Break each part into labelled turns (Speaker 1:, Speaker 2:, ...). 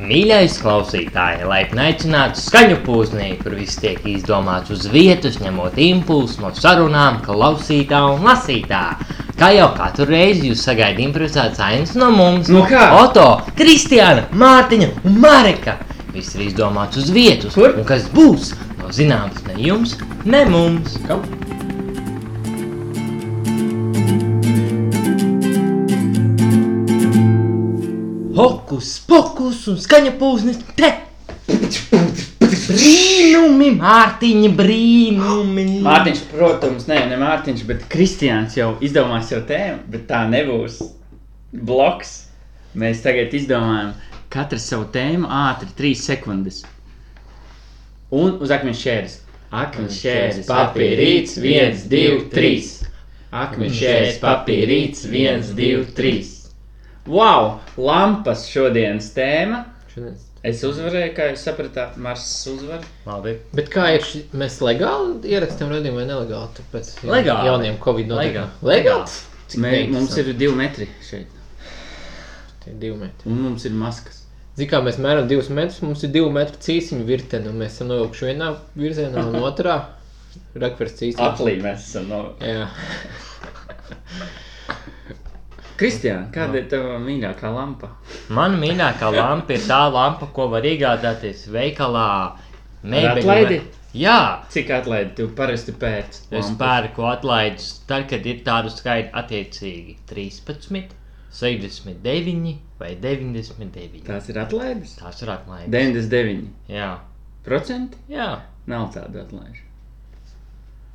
Speaker 1: Mīļais klausītāj, laipni aicināts skaņu pūznī, kur viss tiek izdomāts uz vietas, ņemot impulsu no sarunām, klausītā un lasītā. Kā jau katru reizi jūs sagaidāt improvizētas ainas no mums,
Speaker 2: No kā?
Speaker 1: Oto, Kristiāna, Mārtiņa un Marika. Viss ir izdomāts uz vietas,
Speaker 2: Kur?
Speaker 1: un kas būs, nav zināms ne jums, ne mums.
Speaker 2: Kam?
Speaker 1: Hokus, pokus un skaņa pūznis te! Brīnumi, Mārtiņa, brīnumi!
Speaker 2: Mārtiņš, protams, ne, ne Mārtiņš, bet Kristians jau izdomās jau tēmu, bet tā nebūs bloks. Mēs tagad izdomājam katru savu tēmu ātri, 3 sekundes. Un uz akmens šķērs. Akmens šķērs, papīrīts, 1, 2, 3. Akmens šķērs, papīrīts, 1, 2, 3. Wow! Lampas šodienas tēma. Es uzvarēju, kā jūs sapratāt, Marss uzvar.
Speaker 1: Labi.
Speaker 3: Bet kā ir šis? Mēs legāli ierakstām radījumu vai nelegāli? Tāpēc ja-
Speaker 1: Legāli.
Speaker 3: jauniem Covid
Speaker 1: Legāli.
Speaker 3: noteikumiem. Legāli. Cik
Speaker 2: Mē,
Speaker 3: neinteresanti.
Speaker 2: mums ir divi metri šeit.
Speaker 3: Tie ir divi metri.
Speaker 2: Un mums ir maskas.
Speaker 3: Zin kā mēs mēram divus metrus, mums ir divu metru cīsiņu virtene, un mēs esam nojaukši vienā virzienā un otrā. Rakvers cīsiņu.
Speaker 2: Atlī mēs esam no.
Speaker 3: Jā.
Speaker 2: Kristiāna, kāda ir tava mīļākā lampa?
Speaker 1: Mana mīļākā lampa ir tā lampa, ko var iegādāties veikalā. Mēbeļu
Speaker 2: atlaidi?
Speaker 1: vai- Jā,
Speaker 2: Cik atlaidi tu parasti pēc?
Speaker 1: es pērku atlaidus, tad, kad ir tādu skaitu attiecīgi 13, 69 vai 99.
Speaker 2: Tās ir atlaides?
Speaker 1: Tās ir atlaides.
Speaker 2: 99%?
Speaker 1: Jā, jā.
Speaker 2: Nav tādu atlaižu.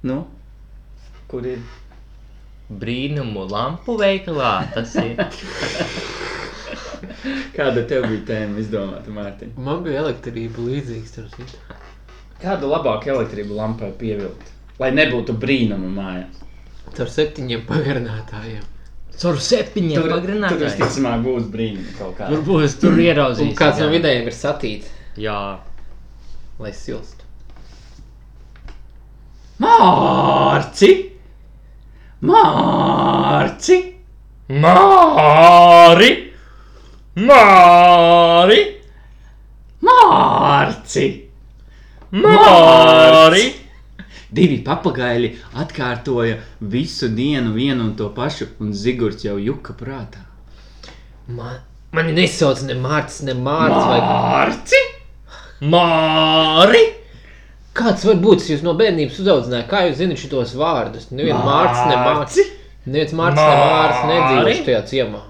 Speaker 2: Nu? Kur ir?
Speaker 1: Brīnumu lampu veikalā tas ir.
Speaker 2: Kāda tev bija tēma izdomāta, Mārtiņ?
Speaker 3: Man bija elektrība līdzīga starp citu.
Speaker 2: Kādu labāku elektrību lampai pievilkt? Lai nebūtu brīnuma mājā.
Speaker 3: Ar septiņiem pagarinātājiem.
Speaker 1: Caur septiņiem
Speaker 2: tur
Speaker 1: pagrinātājiem.
Speaker 2: visticamāk būs brīnumi kaut kādā.
Speaker 1: Tur būs, tur
Speaker 3: Un
Speaker 1: ieraudzīs.
Speaker 3: kāds no vidējiem ir satīts,
Speaker 1: Jā,
Speaker 3: lai silst.
Speaker 2: Mārci! Mārci!
Speaker 1: Māri! Māri!
Speaker 2: Mārci!
Speaker 1: Māri!
Speaker 2: Divi papagaili atkārtoja visu dienu vienu un to pašu, un Zigorts jau juka prātā.
Speaker 3: Man, mani nesauc ne Mārcis, ne Mārcis. Vai...
Speaker 2: Mārci!
Speaker 1: Māri!
Speaker 3: Kāds var būt, jūs no bērnības uzaugstināja? Kā jūs zinat šos vārdus? Neviens Mārcis, ne Mārcis. Neviens Mārcis, ne Mārcis nedzīvo šajā ciemā.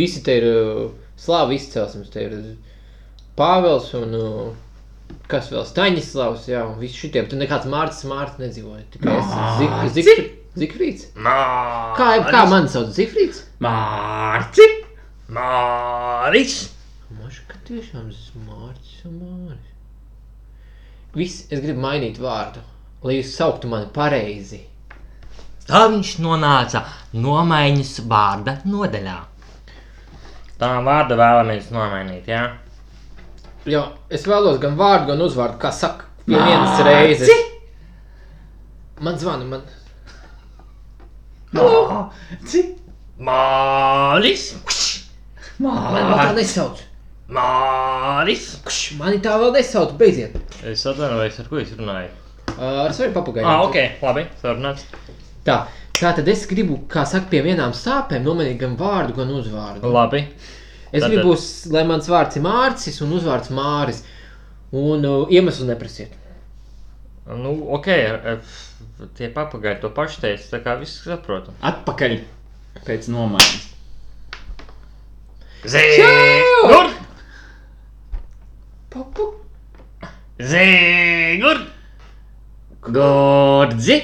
Speaker 3: Visi te ir uh, slāvi izcelsmes, te ir Pāvils un uh, kas vēl Staņislavs, jā, un visi šitie. Tur nekāds Mārcis, Mārcis nedzīvoja. Tikai es
Speaker 2: Mārci?
Speaker 3: Zikfrīds. Zikfrīds.
Speaker 1: Māri!
Speaker 3: Kā, kā man sauc Zikfrīds?
Speaker 2: Mārci!
Speaker 1: Māris!
Speaker 3: Mažu, Nu, ka tiešām tas Mārcis un Mārcis. Viss, es gribu mainīt vārdu, lai jūs sauktu mani pareizi.
Speaker 1: Tā viņš nonāca nomaiņas vārda nodaļā. Tā vārda vēlamies nomainīt, jā?
Speaker 3: Jo es vēlos gan vārdu, gan uzvārdu, kā saka, pie vienas
Speaker 2: Mārci!
Speaker 3: reizes. Man zvana, man
Speaker 2: Mārci!
Speaker 1: Māris!
Speaker 3: Man vēl tā
Speaker 2: Mārci!
Speaker 3: nesauc.
Speaker 1: Māris!
Speaker 3: Kš, Mani tā vēl nesauc, beidziet.
Speaker 1: Es atvainojos, ar ko es runāju?
Speaker 3: Uh, Ar saviem papagaļiem.
Speaker 1: Ah, ok, labi, sarunāts.
Speaker 3: Tā, tā tad es gribu, kā saka, pie vienām sāpēm nomainīt gan vārdu, gan uzvārdu.
Speaker 1: Labi,
Speaker 3: Es
Speaker 1: Tātad-
Speaker 3: gribu, s- lai mans vārds ir Mārcis un uzvārds Māris. Un uh, iemeslu neprasiet.
Speaker 1: nu, ok, eh, tie papagaļi to pašu teica, tā kā viss saprotam.
Speaker 2: Atpakaļ pēc nomaiņas.
Speaker 1: Zīgur!
Speaker 3: Papu.
Speaker 1: Zīgur!
Speaker 2: Gordzi!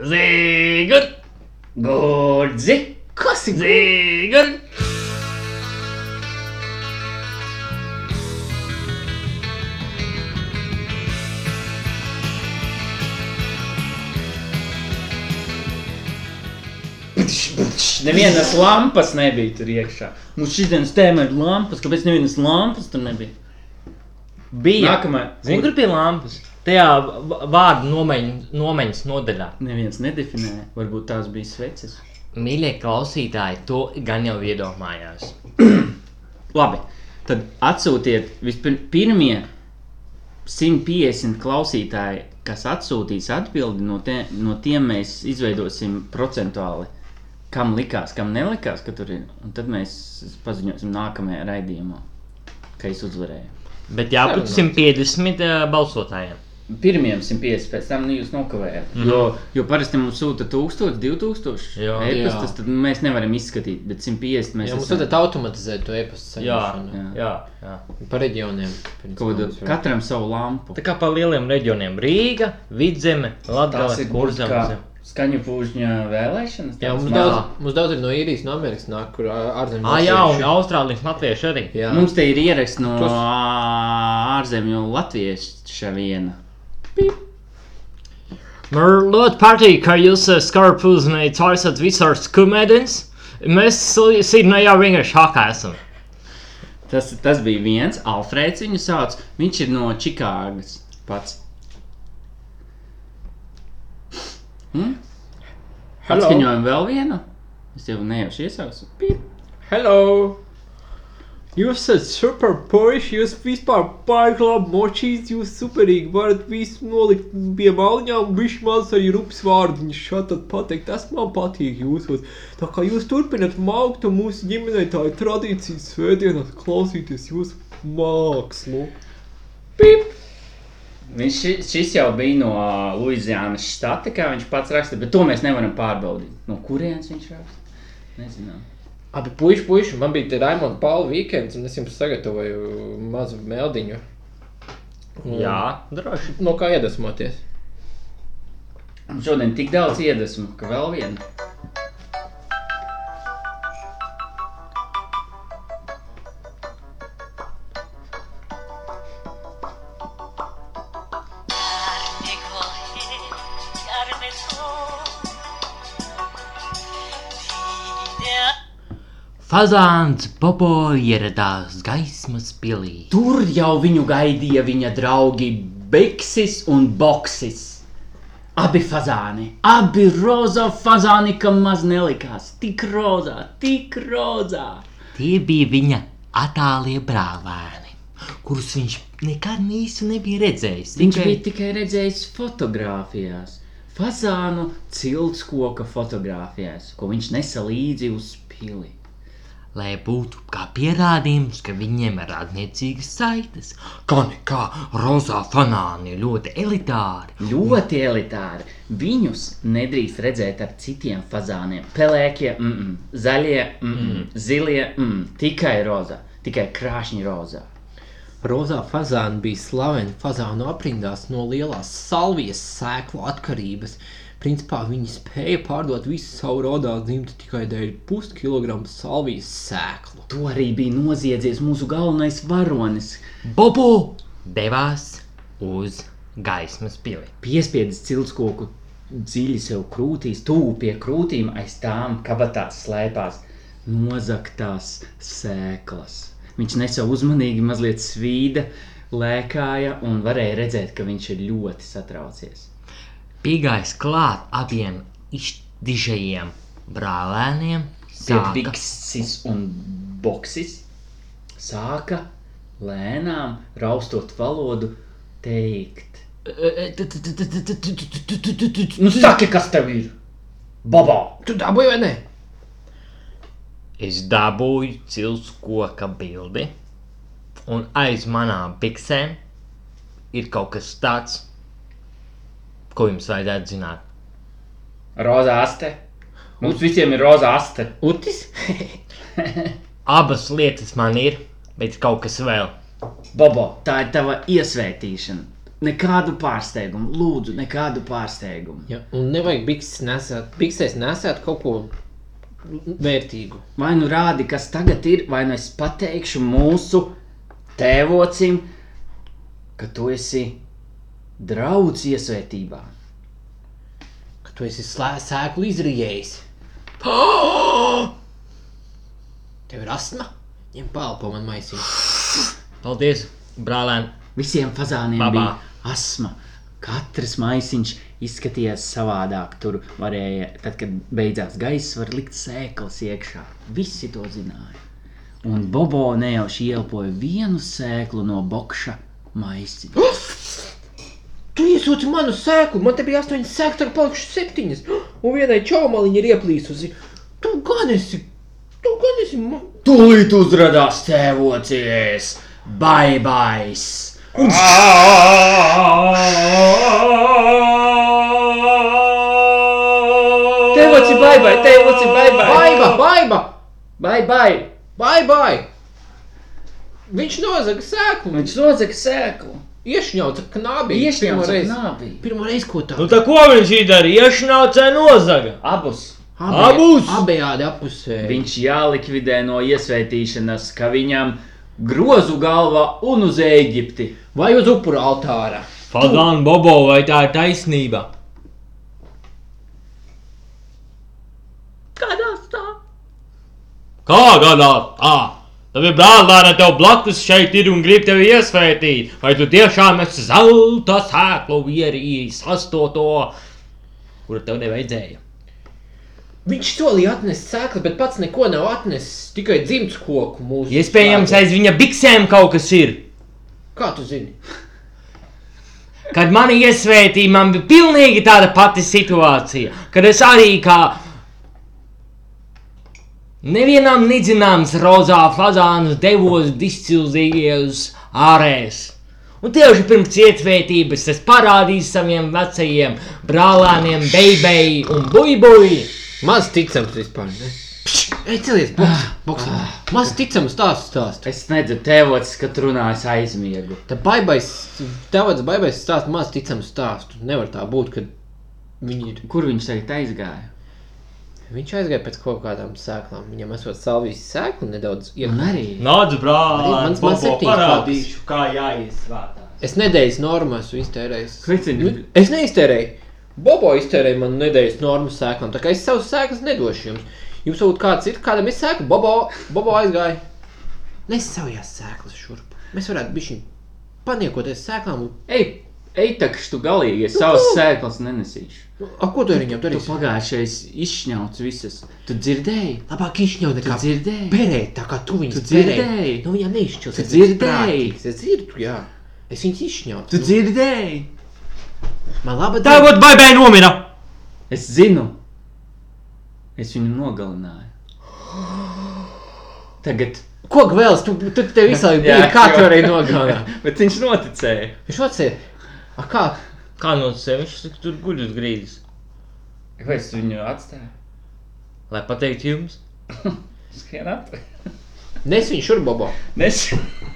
Speaker 1: Zīgur!
Speaker 2: Gordzi!
Speaker 3: Kas ir?
Speaker 1: Zīgur!
Speaker 2: Nevienas lampas nebija tur iekšā. Mums šī dienas tēma ir lampas. Kāpēc nevienas lampas tur nebija?
Speaker 1: Bija.
Speaker 2: Nākamā.
Speaker 1: Zini, kur bija lampas? Tajā v- vārdu nomaiņ- nomaiņas nodaļā.
Speaker 2: Neviens nedefinēja. Varbūt tās bija sveces.
Speaker 1: Mīļie klausītāji, to gan jau iedomājās.
Speaker 2: Labi. tad atsūtiet vispirms pirmie 150 klausītāji, kas atsūtīs atbildi, no, tie, no tiem mēs izveidosim procentuāli. Kam likās, kam nelikās, ka tur ir. Un tad mēs paziņosim nākamajā raidījumā, ka es uzvarēju.
Speaker 1: Bet jābūt 150 uh, balsotājiem.
Speaker 2: Pirmiem 150, pēc tam nu, jūs nokavējat.
Speaker 3: Mhm.
Speaker 2: Mm -hmm. jo, jo parasti mums sūta 1000, 2000
Speaker 1: Jā.
Speaker 2: e-pastus, tad mēs nevaram izskatīt, bet 150 mēs
Speaker 3: Jā, mums
Speaker 2: esam-
Speaker 3: tad automatizēt to e-pastu saņemšanu.
Speaker 1: jā. jā.
Speaker 3: Pa reģioniem.
Speaker 2: kaut kādu- katram savu lampu.
Speaker 1: Tā kā pa lieliem reģioniem - Rīga, Vidzeme,
Speaker 2: Tas
Speaker 1: Latvijas
Speaker 2: ir
Speaker 1: kurzem.
Speaker 2: kā skaņu pūžņa vēlēšanas.
Speaker 3: Jā, mums
Speaker 2: tāds
Speaker 3: daudz,
Speaker 2: mazs.
Speaker 3: mums daudz ir no īrijas, no Amerikas nāk, kur ā, ārzemēs.
Speaker 1: Ah, jā, un
Speaker 3: latvieši.
Speaker 1: Austrālijas latvieši arī.
Speaker 3: jā.
Speaker 2: Mums te ir ieraksts no
Speaker 3: Tos-
Speaker 2: ā, ārzemju latvieša viena.
Speaker 1: Man ļoti patīk, ka jūs eh, skarpūznējat taisat visārs komēdijas. Mēs Sidnejā vienkārši hakā esam.
Speaker 2: Tas, tas bija viens, Alfrēds viņu sauc. Viņš ir no Čikāgas pats. Hmm?
Speaker 3: Hello.
Speaker 2: Atskaņojam vēl vienu. Es jau nejauši iesaucu. Pip.
Speaker 3: Hello! Jūs esat super puiši, jūs vispār pārklājat močīs, jūs superīgi varat visu nolikt pie maliņām, viņš maz arī rups vārdiņš šādi pateikt, tas man patīk jūsos. Tā kā jūs turpinat maukt un mūsu ģimenei tā ir tradīcija svētdienās klausīties jūsu mākslu. Pip!
Speaker 2: Viņš ši- Nu, šis jau bija no Luizānas štata, kā viņš pats raksta, bet to mēs nevaram pārbaudīt. No kurienes viņš raksta? Nezinām.
Speaker 3: Abi puiši, puiši, man bija Raimonds Pauli vikends, un es jums sagatavoju mazu meldiņu.
Speaker 1: droši.
Speaker 3: No kā iedvesmoties?
Speaker 2: Un šodien tik daudz iedvesmu, ka vēl viena.
Speaker 1: Fazāns Bobo ieradās gaismas pilī.
Speaker 2: Tur jau viņu gaidīja viņa draugi Biksis un Boksis. Abi fazāni, abi rozā fazāni, kam maz nelikās. Tik rozā, tik rozā.
Speaker 1: Tie bija viņa attālie brālēni, kurus viņš nekad īsti nebija redzējis.
Speaker 2: Viņš bija tikai redzējis fotografijās, fazānu ciltskoka fotografijās, ko viņš nesa līdzi uz pili.
Speaker 1: lai būtu kā pierādījums, ka viņiem ir attiecīgas saites. Kā nekā rozā fanāni ir ļoti elitāri.
Speaker 2: Ļoti elitāri. Viņus nedrīkst redzēt ar citiem fazāniem. Pelēkie, mm -mm, zaļie, mm -mm, zilie, mm -mm, tikai rozā, tikai krāšņi rozā.
Speaker 3: Rozā fazāna bija slavena fazānu aprindās no lielās salvijas sēklu atkarības. Principā viņi spēja pārdot visu savu rodā dzimtu tikai dēļ puskilogramu salvijas sēklu.
Speaker 2: To arī bija noziedzies mūsu galvenais varonis.
Speaker 1: Bobo devās uz gaismas pili.
Speaker 2: Piespiedzis ciltskoku dziļi sev krūtīs, tuvu pie krūtīm, aiz tām kabatās slēpās nozaktās sēklas. Viņš nesa uzmanīgi, mazliet svīda, lēkāja un varēja redzēt, ka viņš ir ļoti satraucies.
Speaker 1: Piegājis klāt abiem izdižajiem brālēniem, sāka-
Speaker 2: Biksis un Boksis sāka lēnām raustot valodu, teikt, nu saki, kas tev ir? Babā!
Speaker 3: Tu dabūji vai ne?
Speaker 1: Es dabūju cilts koka bildi, un aiz manām piksēm ir kaut kas tāds, ko jums vajadzētu zināt.
Speaker 2: Rozā aste! Mums visiem ir rozā aste!
Speaker 3: Utis?
Speaker 1: Abas lietas man ir, bet kaut kas vēl.
Speaker 2: Bobo, tā ir tava iesvētīšana. Nekādu pārsteigumu, lūdzu, nekādu pārsteigumu.
Speaker 3: Jā, un nevajag bikses nesēt. Biksēs nesēt kaut ko vērtīgu.
Speaker 2: Vai nu rādi, kas tagad ir, vai nu es pateikšu mūsu tēvocim, ka tu esi draudz iesvētībā.
Speaker 3: Ka tu esi slē, sēklu izrījējis. Tev ir astma? Ņem palpo man maisīt.
Speaker 1: Paldies, brālēn!
Speaker 2: Visiem fazāniem
Speaker 1: Babā.
Speaker 2: Babā. bija asma. Katrs maisiņš izskatījās savādāk. Tur varēja, tad, kad beidzās gaiss, var likt sēklas iekšā. Visi to zināja. un Bobo nejauši ielpoja vienu sēklu no bokša maisiņa.
Speaker 3: Tu iesūti manu sēklu, man te bija 8 sēklas, tagad palikušas 7. Un vienai čaumaliņai ir ieplīsusi. Tu gan esi, tu gan esi. ma-
Speaker 2: Tūlīt uzrādās tēvocies, baigais! Un
Speaker 1: Tēvoci,
Speaker 2: baibai, tēvoci, baibai!
Speaker 3: Baiba, baiba,
Speaker 2: Bye, bye!
Speaker 3: baiba! baiba. Viņš nozaga sēklu.
Speaker 2: Viņš nozaga sēklu.
Speaker 3: Iešņauca knābi.
Speaker 2: Iešņauca
Speaker 3: reizi.
Speaker 2: knābī.
Speaker 3: Pirmā reize, ko tā
Speaker 1: Nu, tā ko viņš darīja? Iešnaucē nozaga.
Speaker 2: Abus.
Speaker 3: Abē-
Speaker 1: Abus!
Speaker 3: Abējādi apusē.
Speaker 2: Viņš jālikvidē no iesvētīšanas, ka viņam grozu galva un uz Eģipti.
Speaker 3: Vai uz upuru altāra?
Speaker 1: Fazan, Bobo, vai tā ir taisnība?
Speaker 2: Kādā tā?
Speaker 1: Kā gadā? Tā! Tavi brālēni tev blakus šeit ir un grib tevi iesvētīt. Vai tu tiešām esi zelta sēklu ierījis astoto, kuru tev nevajadzēja?
Speaker 3: Viņš solīja atnest sēklas, bet pats neko nav atnesis. Tikai dzimts koku mūsu.
Speaker 1: Iespējams,
Speaker 3: sēklā.
Speaker 1: aiz viņa biksēm kaut kas ir.
Speaker 3: Kā tu zini?
Speaker 1: Kad mani iesvētīja, man bija pilnīgi tāda pati situācija, kad es arī kā nevienam nedzināms rozā fazāns devos discilzīgajos ārēs. Un tieši pirms iesvētības es parādīju saviem vecajiem brālēniem, beigai un buļbuļai.
Speaker 3: Maz ticams vispār. ne? Ej, celies,
Speaker 2: Ah,
Speaker 3: boxē. Maz ticams tās stāsts.
Speaker 2: Es nedzu tevots, kad runājas aizmiegu.
Speaker 3: Tā baigais, tavs baigais stāsts, maz ticams stāsts. Nevar tā būt, ka viņi ir.
Speaker 2: Kur viņš tagad aizgāja?
Speaker 3: Viņš aizgāja pēc kaut kādām sēklām. Viņam esot salvijas sēklu nedaudz
Speaker 2: Un
Speaker 3: iekrājis.
Speaker 2: arī.
Speaker 1: Nāc,
Speaker 3: Arī mans- Bobo, mans septiņas parādīšu,
Speaker 1: kā jāiesvētās.
Speaker 3: Es nedēļas normu esmu iztērējis.
Speaker 2: Kviciņ.
Speaker 3: Nu, Es neiztērēju. Bobo iztērēja man nedēļas normu sēklām, tā kā es savus sēklas nedošu jums. Jums kaut kāds ir, kādam ir sēkla, Bobo, Bobo aizgāja. Nes savās sēklas šurp. Mēs varētu bišķi paniekoties sēklām. un-
Speaker 2: Ej, ej, takš tu galīgi, es savas sēklas nenesīšu.
Speaker 3: Nu, A, ko tu ar viņiem
Speaker 2: Tu
Speaker 3: darīsi?
Speaker 2: pagājušais izšņauts visas. Tu dzirdēji?
Speaker 3: Labāk izšņaut
Speaker 2: Tu
Speaker 3: nekā
Speaker 2: dzirdēji?
Speaker 3: Perēt, tā kā tu viņus
Speaker 2: Tu dzirdēji?
Speaker 3: perēji. Nu, viņam neizšķils.
Speaker 2: Tu
Speaker 3: es esmu
Speaker 2: dzirdēji?
Speaker 3: prātīgs, Es dzirdu, jā. Es viņus izšņautu.
Speaker 2: Tu dzirdēji?
Speaker 3: Man laba
Speaker 1: Tā
Speaker 3: diena.
Speaker 1: būtu baigai nomira!
Speaker 2: Es zinu. Es viņu nogalināju. Tagad.
Speaker 3: Ko gvēls? Tu, tu te visā
Speaker 2: Jā,
Speaker 3: bija, kā tu
Speaker 2: jo-
Speaker 3: arī nogalināji.
Speaker 2: Bet viņš noticēja.
Speaker 3: Viņš atsēja. A, kā?
Speaker 1: Kā no sevis viņš tur guļ uz grīdas?
Speaker 2: Vai es viņu atstāju?
Speaker 1: Lai pateiktu jums,
Speaker 2: Skrien atpakaļ.
Speaker 3: Nes viņu šurp, Bobo.
Speaker 2: Nes...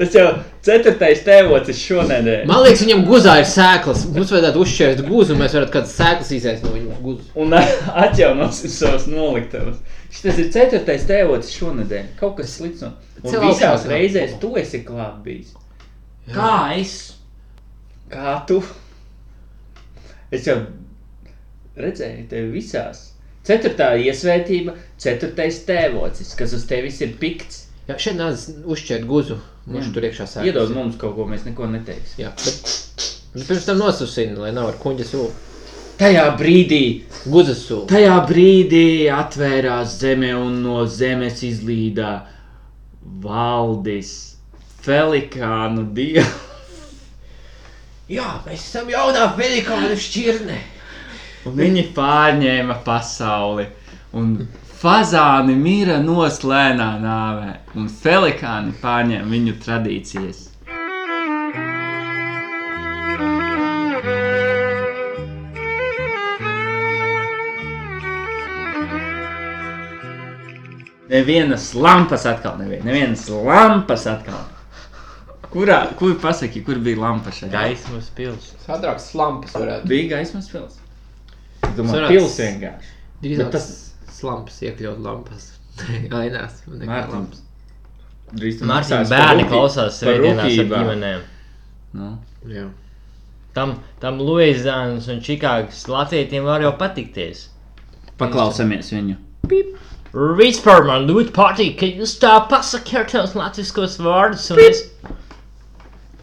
Speaker 2: Tas jau ceturtais tēvocis šonadēļ.
Speaker 3: Man liekas, viņam guzā ir sēklas. Mums vajadzētu uzšķērt guzu, un mēs varētu kādas sēklas izēst no viņas guzas.
Speaker 2: Un atjaunosim savus noliktavus. Šis ir ceturtais tēvocis šonadēļ. Kaut kas slikts no. Un
Speaker 3: Cilvēks
Speaker 2: visās
Speaker 3: nav.
Speaker 2: reizēs tu esi klāt bijis.
Speaker 1: kā es?
Speaker 2: Kā tu? Es jau redzēju, tevi visās. Ceturtā iesvētība, ceturtais tēvocis, kas uz tevis ir pikts.
Speaker 3: Jā, šeit nāc uzšķērt guzu. Mums
Speaker 2: Jā.
Speaker 3: tur iekšā sēklas.
Speaker 2: Iedod mums kaut ko, mēs neko neteiksim.
Speaker 3: Jā, bet, bet nu, pirms tam nosusina, lai nav ar kuģa sūlu.
Speaker 2: Tajā brīdī,
Speaker 3: Guzas sūlu.
Speaker 2: tajā brīdī atvērās zeme un no zemes izlīdā valdis Felikānu dievs.
Speaker 3: Jā, mēs esam jaunā velikāna šķirne.
Speaker 2: Un viņi pārņēma pasauli. Un fazāni mira noslēnā nāvē, un felikāni pārņēma viņu tradīcijas. Nevienas lampas atkal nebija. Nevienas lampas atkal. Kurā, kur pasaki, kur bija lampa šajā?
Speaker 1: Gaismas pils.
Speaker 3: Sadrāks slampas varētu.
Speaker 2: Bija gaismas pils. Es domāju,
Speaker 3: Sanāca-
Speaker 2: pils vienkārši.
Speaker 3: Drīzāk
Speaker 2: Bet
Speaker 3: tas
Speaker 2: tas-
Speaker 3: slampas iekļaut lampas. Ainās. nekā lampas.
Speaker 2: Mārtiņš. Drīz tu
Speaker 1: Mārcis
Speaker 2: maksāsi par
Speaker 1: bērni
Speaker 2: rūpī-
Speaker 1: klausās
Speaker 2: par
Speaker 1: svētdienās ar
Speaker 2: rūpībām.
Speaker 1: ģimenēm.
Speaker 2: Nu.
Speaker 3: Jā.
Speaker 1: Tam, tam Luisānas un Čikāgas latvietiem var jau patikties.
Speaker 2: Paklausāmies viņu.
Speaker 1: Vispār man ļoti patīk, ka jūs tā pasakāt tos latviskos vārdus un es...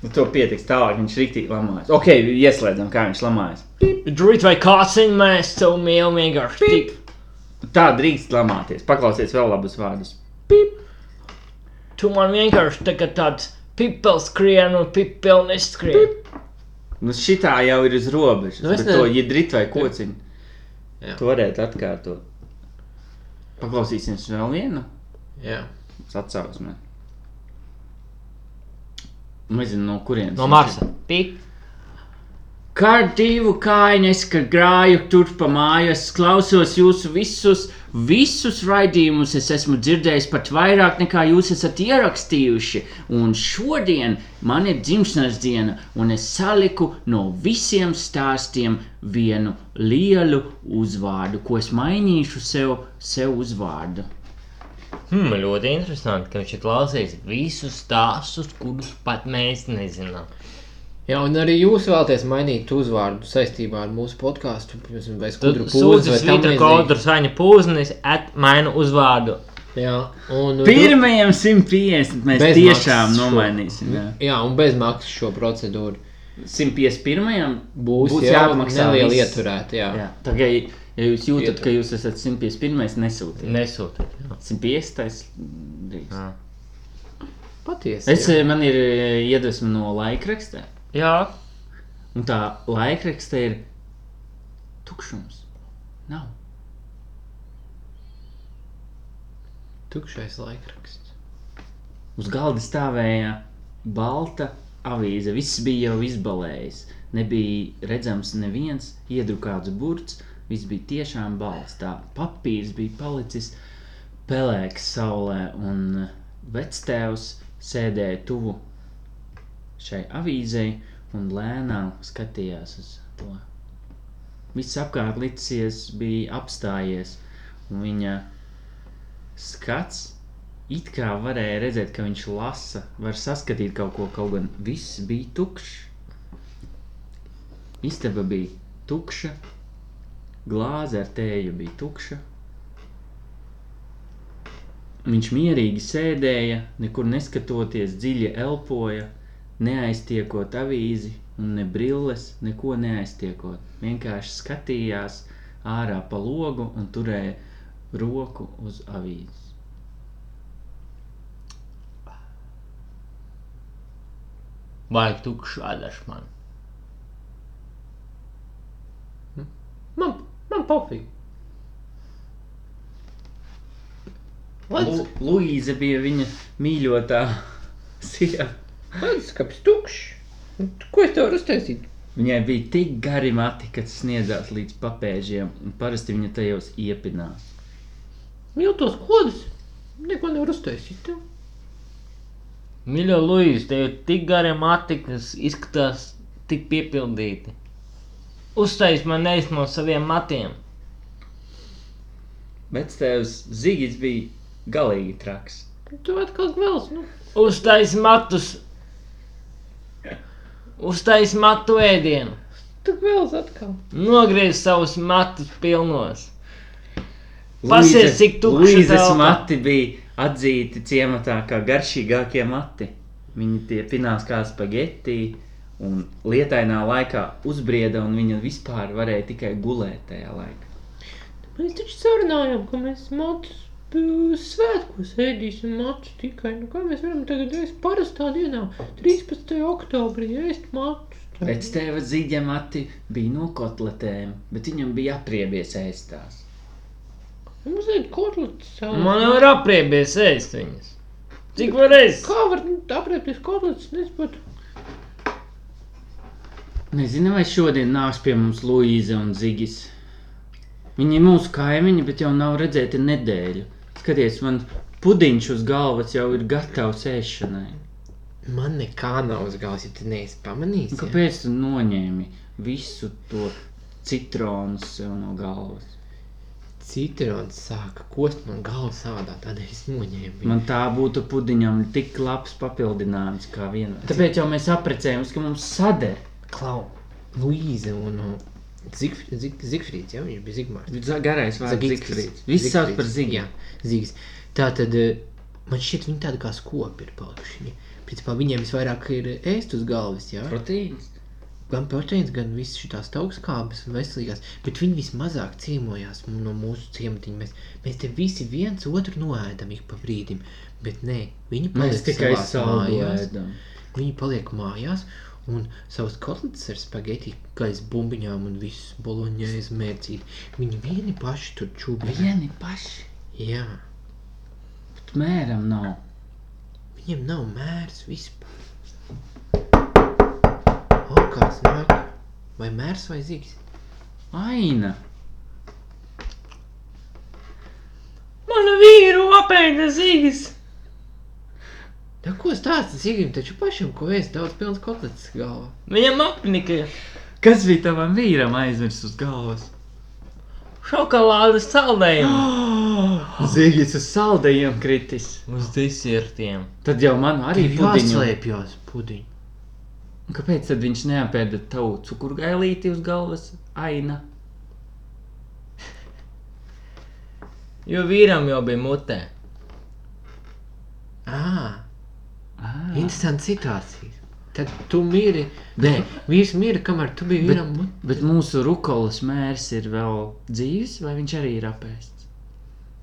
Speaker 2: Nu, to pietiks tālāk, viņš rīktīgi lamājas. Ok, ieslēdzam, kā viņš lamājas.
Speaker 1: Drīt vai kāciņ mēs tev mīl vienkārši tik.
Speaker 2: Nu, Tā drīkst lamāties. Paklausies vēl labus vārdus.
Speaker 1: Tu man vienkārši tagad tāds pipels skrien un pipels neskrien.
Speaker 2: Nu, šitā jau ir uz robežas.
Speaker 3: Nu,
Speaker 2: Nu,
Speaker 3: es
Speaker 2: ne... To
Speaker 3: ne-
Speaker 2: jidrit vai kociņu.
Speaker 3: Jā.
Speaker 2: To varētu atkārtot. Paklausīsimies vēl vienu.
Speaker 3: Jā.
Speaker 2: Atcausmē. Nu, Nezinu, no kurienes.
Speaker 1: No Marsa. Pip.
Speaker 2: Kā divu kājnes, kad grāju tur pa mājas, klausos jūsu visus, visus raidījumus es esmu dzirdējis pat vairāk nekā jūs esat ierakstījuši. Un šodien man ir dzimšanas diena, un es saliku no visiem stāstiem vienu lielu uzvārdu, ko es mainīšu sev, sev uzvārdu.
Speaker 1: Hmm, ļoti interesanti, ka viņš ir klausījis visus stāstus, kurus pat mēs nezinām.
Speaker 3: Jā, un arī jūs vēlaties mainīt uzvārdu saistībā ar mūsu podkāstu. Piemēram, vai
Speaker 1: Tad
Speaker 3: skudru pūzi vai
Speaker 1: sūdzas
Speaker 3: tam
Speaker 1: Vita
Speaker 3: līdzīgi.
Speaker 1: Kodra saņa pūznis, atmaina uzvārdu.
Speaker 3: Jā, un
Speaker 2: Pirmajam 150 mēs
Speaker 3: Bez
Speaker 2: tiešām
Speaker 3: maksas šo.
Speaker 2: nomainīsim. Jā.
Speaker 3: Jā, un bez maksas šo procedūru
Speaker 2: 151.
Speaker 3: būs, būs jā, neliela ieturēta. Jā.
Speaker 2: Jā. Tagad, ja jūs jūtat,
Speaker 3: Ietur.
Speaker 2: ka jūs esat 151, nesūtiet.
Speaker 1: Nesūtiet. jā.
Speaker 2: 150. drīkst.
Speaker 1: Jā.
Speaker 3: Patiesi.
Speaker 2: Es, eh, man ir eh, iedvesma no laikraksta,
Speaker 1: Jā,
Speaker 2: un tā laikraksta ir tukšums. Nav.
Speaker 3: Tukšais laikraksts.
Speaker 2: Uz galda stāvēja balta avīze. Viss bija jau izbalējis. Nebija redzams neviens iedrukāts burts. Viss bija tiešām balts. Tā papīrs bija palicis pelēks saulē, un vectēvs sēdēja tuvu šai avīzei un lēnām skatījās uz to. Viss apkārt licies bija apstājies, un viņa skats It kā varēja redzēt, ka viņš lasa, var saskatīt kaut ko, kaut gan viss bija tukšs. Istaba bija tukša, glāze ar tēju bija tukša. Viņš mierīgi sēdēja, nekur neskatoties, dziļi elpoja, neaiztiekot avīzi un ne brilles, neko neaiztiekot. Vienkārši skatījās ārā pa logu un turēja roku uz avīzi.
Speaker 1: vajag tukšu adašu man.
Speaker 3: Man, man pofīgi. Lec,
Speaker 2: Lu Luīza bija viņa mīļotā sieva.
Speaker 3: lec, kāpēc tukšs? Nu, tu- Ko es tev varu uztaisīt?
Speaker 2: Viņai bija tik gari mati, ka sniedzās līdz papēžiem, un parasti viņa tajos iepinās.
Speaker 3: Miltos kodus. Neko nevar uztaisīt. tev.
Speaker 1: Mīļo, Lūdzu, tev ir tik gari mati, kas izskatās tik piepildīti. Uztais man nevis no saviem matiem.
Speaker 2: Vectēvs Zigis bija galīgi traks.
Speaker 3: Tu atkal gvēls, nu.
Speaker 1: Uztais matus! Uztais matu ēdienu!
Speaker 3: Tu gvēls atkal.
Speaker 1: Nogriez savus matus pilnos!
Speaker 2: Luīze-
Speaker 1: Pasies, cik tukša
Speaker 2: Luīzes
Speaker 1: telpa.
Speaker 2: mati bija atzīti ciematā kā garšīgākie mati. Viņi tie pinās kā spagetti, un lietainā laikā uzbrieda, un viņa vispār varēja tikai gulēt tajā laikā.
Speaker 3: Mēs taču sarunājām, ka mēs matus p- svētkos ēdīsim matus tikai. Nu, kā mēs varam tagad ēst parastā dienā, 13. oktobrī, ēst matus?
Speaker 2: Pēc tēva zīģa mati bija no kotletēm, bet viņam bija apriebies ēstās.
Speaker 3: Nu, Mums ēd kotletes. ā.
Speaker 1: Man jau ir apriebies ēst viņas! Cik varēs?
Speaker 3: Kā var nu, aprēpties kotletes, nesaprotu.
Speaker 2: Nezinu, vai šodien nāks pie mums Luīza un Zigis. Viņi ir mūsu kaimiņi, bet jau nav redzēti nedēļu. Skaties, man pudiņš uz galvas jau ir gatavs ēšanai.
Speaker 3: Man nekā nav uzgājis, ja tu neesi
Speaker 2: Un
Speaker 3: pamanījis.
Speaker 2: Kāpēc tu noņēmi visu to citronu sev no galvas?
Speaker 3: Citrons sāka kost man galvu sādā, tādēļ es noņēmu. Man...
Speaker 2: Man tā būtu pudiņam tik labs papildinājums kā vienam. Tāpēc jau mēs apprecējāmies, ka mums sadara.
Speaker 3: Klau, Luīze un uh, Zigf- Zig- Zigfrīds, jā, viņš bija Zigmārs.
Speaker 2: Za- Garais vārds - Zigfrīds. Viss sauc par Zigiju.
Speaker 3: Zigis. Tā tad eh, man šķiet, viņi tādi kā skopi ir palikuši. Viņi- Principā viņiem visvairāk ir ēst uz galvas, jā.
Speaker 2: Proteīns.
Speaker 3: gan proteīns, gan visas šīs augstskābes un veselīgās, bet viņi vismazāk ciemojās mu- no mūsu ciematiņa. Mēs, mēs te visi viens otru noēdam ik pa brīdim, bet nē, viņi paliek
Speaker 2: Mēs tikai
Speaker 3: savās mājās.
Speaker 2: sāpējām.
Speaker 3: Viņi paliek mājās un savus kotletes ar spaghetti, gaisa bumbiņām un visu boloņais mērcīt. Viņi vieni paši tur čūbi.
Speaker 2: Vieni paši.
Speaker 3: Jā,
Speaker 2: Bet mēram nav.
Speaker 3: viņiem nav mērs vispār. O, kāds nāk? Vai mērs vai zigs?
Speaker 2: Aina. Mana vīru apēda zīgas.
Speaker 3: Tā ko stāsta Zigim, taču pašam, ko es daudz pilns kotlets galvā.
Speaker 1: Viņam apnika
Speaker 2: Kas bija tavam vīram aizmirst uz galvas?
Speaker 1: šokolādes saldējumu.
Speaker 2: Zīgas uz saldējiem kritis.
Speaker 1: Uz disertiem.
Speaker 2: Tad jau man arī pudiņu.
Speaker 3: jāslēpjas pudiņš.
Speaker 2: Un Kāpēc tad viņš neapēda tavu cukurgailīti uz galvas? Aina.
Speaker 1: Jo vīram jau bija mutē.
Speaker 3: Ah,
Speaker 2: Ā.
Speaker 3: interesanti situācija. Tad tu mīri. Nē, vīrs mīra, kamēr tu biji
Speaker 2: Bet,
Speaker 3: vīram.
Speaker 2: bet mūsu rukolas mērs ir vēl dzīves, vai viņš arī ir apēsts?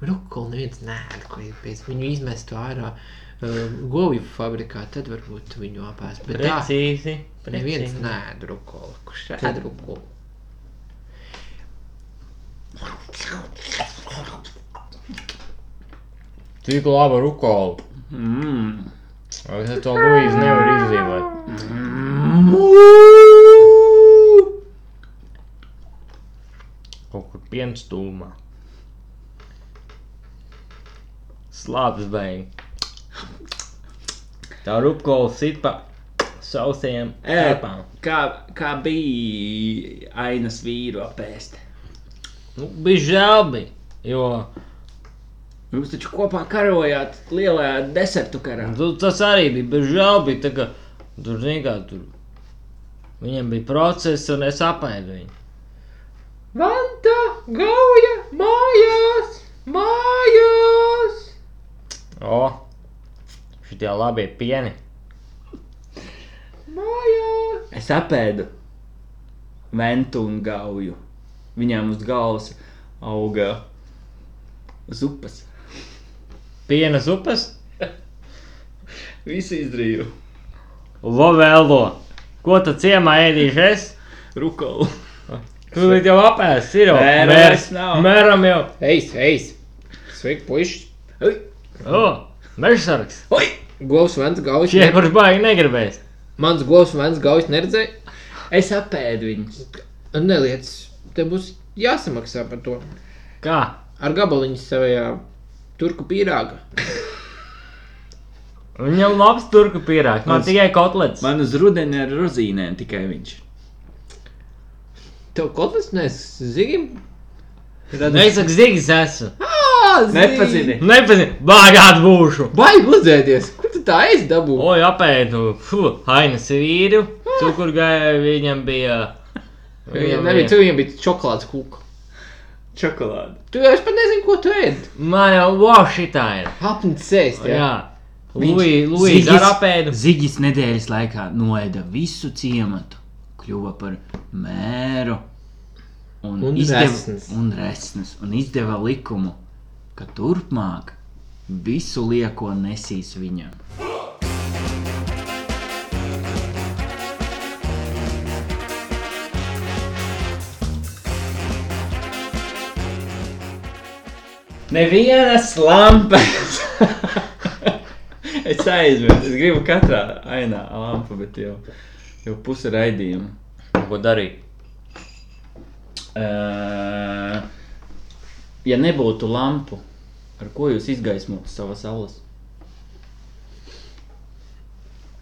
Speaker 3: Rukkola neviens nē, ko ir pēc viņu izmestu ārā. Uh, govju fabrikā, tad varbūt tu viņu apēs. Bet tā,
Speaker 1: Precīzi.
Speaker 3: neviens nē, rukola. Kurš
Speaker 2: Tad-
Speaker 3: tad rukola?
Speaker 1: Tik laba rukola.
Speaker 2: Mmm.
Speaker 1: Es to Luīzi nevar izdzīvot. Kaut kur piens tūmā. Slāpes beig. Tā rukola sit pa sausajiem ēpām.
Speaker 2: Kā, kā bija ainas vīru apēst?
Speaker 1: Nu, bija žēl bija, jo
Speaker 2: Jūs taču kopā karojāt lielajā desertu karā.
Speaker 1: tu, Nu, tas arī bija bez žēl bija, tā kā tur zini kā tur. Viņam bija process un es apēdu viņu.
Speaker 3: Vanta, gauja, mājās, mājās!
Speaker 1: O, šitie labie pieni.
Speaker 3: Mājās!
Speaker 2: Es apēdu ventu un gauju. Viņām uz galvas auga zupas.
Speaker 1: Pienas upes?
Speaker 2: Visi izdarīju
Speaker 1: Lovēlo. Ko tu ciemā ēdīšu es?
Speaker 2: rukolu.
Speaker 1: Tu līdz jau apēs, ir jau.
Speaker 2: Mēra
Speaker 1: Mērs-
Speaker 2: vairs nav.
Speaker 1: Mēram jau.
Speaker 3: Eis, eis! Sveiki, puiši!
Speaker 2: Oi!
Speaker 1: O, mežsargs.
Speaker 2: Oi!
Speaker 3: Govs vans gaujas.
Speaker 1: Šie, kurš baigi negribēs.
Speaker 3: Mans govs vans gaujas neredzēja.
Speaker 2: Es apēdu viņus.
Speaker 3: Neliec, te būs jāsamaksā par to.
Speaker 1: Kā?
Speaker 3: Ar gabaliņu savajā turku pīrāga.
Speaker 1: Viņam labs turku pierāks, man
Speaker 2: Mans-
Speaker 1: tikai kotlets.
Speaker 2: Man uz rudeni ar rozīnēm tikai viņš.
Speaker 3: Tev kotlis nes zigim?
Speaker 1: Neizsaka zigis esmu.
Speaker 3: Ā, zigi!
Speaker 2: Nepazini.
Speaker 1: Nepazinu, bagāt būšu.
Speaker 3: Baigi uzēties! Kur tu tā aiz dabū?
Speaker 1: Oi, apēdu, fu, hainas vīru. Cukurgai viņam bija. nu,
Speaker 3: Viņam nebija, tu viņam bija čokolādes kūka.
Speaker 2: Čokolāde.
Speaker 3: Tu jau es pat nezinu, ko tu ēd.
Speaker 1: Man jau lošitā ir.
Speaker 3: Hapnis sēst, jā.
Speaker 1: Jā. Lui, Lui,
Speaker 2: Zigis-
Speaker 1: dar apēdu.
Speaker 2: Zigis nedēļas laikā noēda visu ciematu, kļuva par mēru un,
Speaker 3: Un
Speaker 2: izdeva-
Speaker 3: resns.
Speaker 2: un, resns, un izdeva likumu, ka turpmāk visu lieko nesīs viņam. Nevienas lampas! es aizmirsu, es gribu katrā ainā lampu, bet jau, jau pusi raidījuma.
Speaker 1: Ko darīt?
Speaker 2: Uh, ja nebūtu lampu, ar ko jūs izgaismotu savas saules?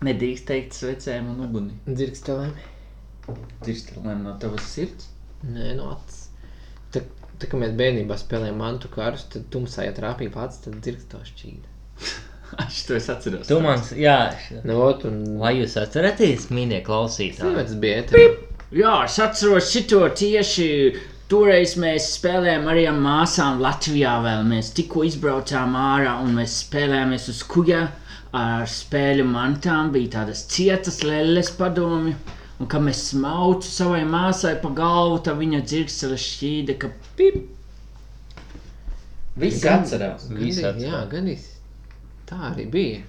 Speaker 2: Nedrīkst teikt svecēm un uguni.
Speaker 3: Dzirkstelēm.
Speaker 2: Dzirstelēm no tavas sirds.
Speaker 3: Nē, nu, no acis. Tā, tā kā mēs bērnībā spēlējām mantu kārus, tad tumsā jau trāpīja pats, tad dzirkstā šķīda.
Speaker 2: Aš to es atceros.
Speaker 1: Tu mans, jā. š-
Speaker 3: Nu, ot, un...
Speaker 1: Vai jūs atceraties, mīļie klausītāji?
Speaker 3: Cilvēks bija ēterā.
Speaker 2: Jā, es atceros šito tieši. Toreiz mēs spēlējām arī ar māsām Latvijā. Vēl. Mēs tikko izbraucām ārā un mēs spēlējāmies uz kuģa ar spēļu mantām. Bija tādas cietas lelles padomi. Un kad mēs smaucam savai māsai pa galvu, tad viņa dzirkstele šķīda, ka pip.
Speaker 4: Visi atcerās.
Speaker 1: Visi
Speaker 3: Gandrīz, jā, gandrīz tā arī bija.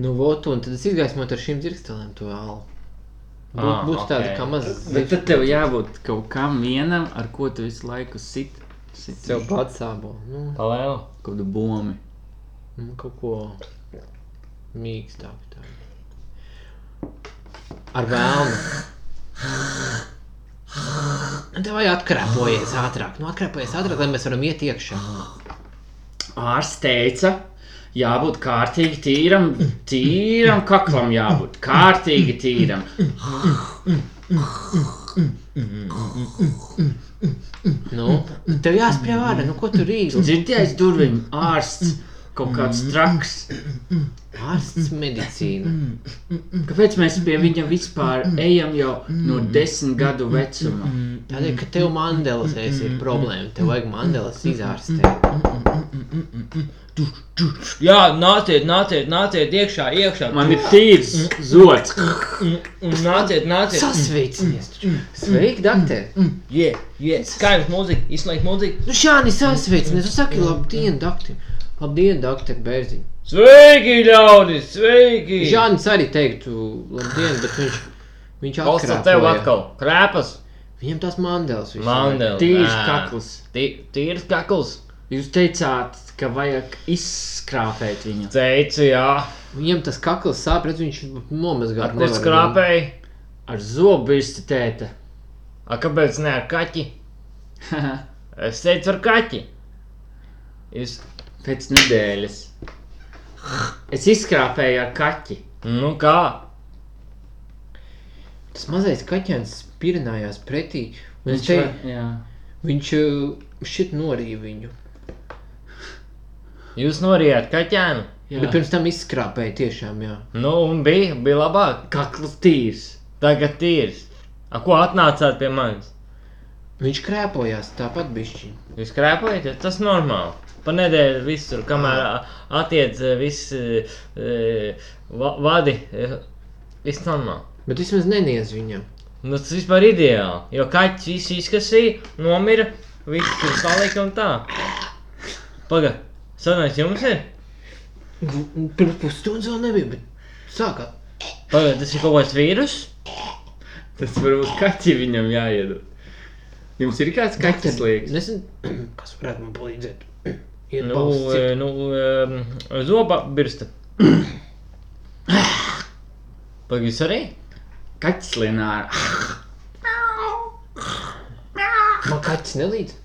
Speaker 3: Nu, vot, un tad es izgaismoju ar šīm dzirkstelēm to alu. Būtu
Speaker 1: Ah,
Speaker 3: būt tāda
Speaker 1: ok.
Speaker 3: kā maza
Speaker 2: Bet tad tev jābūt kaut kam vienam, ar ko tu visu laiku sit. sit.
Speaker 3: Sev pats sābo. Nu,
Speaker 1: Palēlu.
Speaker 2: Kaut kādu bombu.
Speaker 3: nu, kaut ko mīkstāku. Tā. Ar vēlnu. Nu, Tev vajag atkrāpoties ātrāk. Nu, atkrāpoties ātrāk, lai mēs varam iet iekšā.
Speaker 2: Ārsts teica, jābūt kārtīgi tīram, tīram kaklam jābūt. Kārtīgi tīram.
Speaker 3: Nu, tev jāspēj vārdā, nu, ko tu rīksti?
Speaker 2: Dzirdējis durvīm, ārsts kaut kāds traks.
Speaker 3: Ārsts medicīna.
Speaker 2: Kāpēc mēs pie viņa vispār ejam jau no desmit gadu vecuma?
Speaker 3: Tādēļ, ka tev mandelas ēs ir problēma. Tev vajag mandelas izārstēt.
Speaker 1: Jā, nāciet, nāciet, nāciet iekšā, iekšā.
Speaker 2: Man ir tīrs zots.
Speaker 1: Nāciet, nāciet.
Speaker 3: Sasveicinies! taču. Sveiki, doktor!
Speaker 1: Jā, jā. Skaņas mūzika, izslēgt mūziku.
Speaker 3: Nu šādi sasveicinies! Tu saki, labdien, doktor! Labdien, doktor Bērziņ!
Speaker 1: Sveiki, ļaudis, sveiki!
Speaker 3: Žānis arī teiktu labdien, bet viņš, viņš
Speaker 1: Klausa tev
Speaker 3: atkrāpoja.
Speaker 1: atkal. Krēpas,
Speaker 3: Viņam tās mandelas visu laiku.
Speaker 1: mandela.
Speaker 2: Tīrs kakls.
Speaker 1: Tīrs kakls.
Speaker 2: Jūs teicāt, ka vajag izskrāpēt viņu.
Speaker 1: Teicu, jā.
Speaker 3: Viņam tas kakls sāp, redz, viņš nomazgā.
Speaker 1: Kur skrāpēji?
Speaker 2: Ar zobirsti tēta.
Speaker 1: A kāpēc ne ar kaķi? Es teicu ar kaķi. Es...
Speaker 2: Pēc nedēļas. Es izskrāpēju ar kaķi.
Speaker 1: Nu kā?
Speaker 3: Tas mazais kaķēns pirinājās pretī. Un es
Speaker 2: var-
Speaker 3: teicu,
Speaker 2: jā.
Speaker 3: Viņš uh, šit norīja viņu.
Speaker 1: Jūs norījāt kaķēnu?
Speaker 3: Jā.
Speaker 2: Jā.
Speaker 3: Bet pirms tam izskrāpēja tiešām, jā.
Speaker 1: Nu, un bija, bija labāk.
Speaker 2: Kakls tīrs.
Speaker 1: Tagad tīrs. A ko atnācāt pie manis?
Speaker 3: Viņš krēpojās tāpat bišķiņ.
Speaker 1: Jūs krēpojat, tas ir normāli. Pa nedēļu visur, kamēr
Speaker 2: Ah.
Speaker 1: eh, ā, attiec ā, visi ā, eh, va- vadi, ā, viss normāli.
Speaker 3: Bet vismaz neniedz viņam.
Speaker 1: Nu, tas vispār ir ideāli, jo kaķis visu izkasīja, nomira, viss tur palika un tā. Pagaid, sanāks jums ir?
Speaker 3: Nu, Pirms pusstundas vēl nebija, bet sākāt.
Speaker 1: Pagaid, tas ir kaut kāds vīrus?
Speaker 2: Tas varbūt kaķi viņam jāiedod. Jums ir kāds kaķis liekas?
Speaker 3: Nesen, kas varētu man palīdzēt? Iet
Speaker 1: Nu,
Speaker 3: balsts ciet.
Speaker 1: ē, nu, ēm, zoba birsta. Pagaid, jūs arī?
Speaker 2: Kaķis lienāra.
Speaker 3: Man kaķis nelīdz.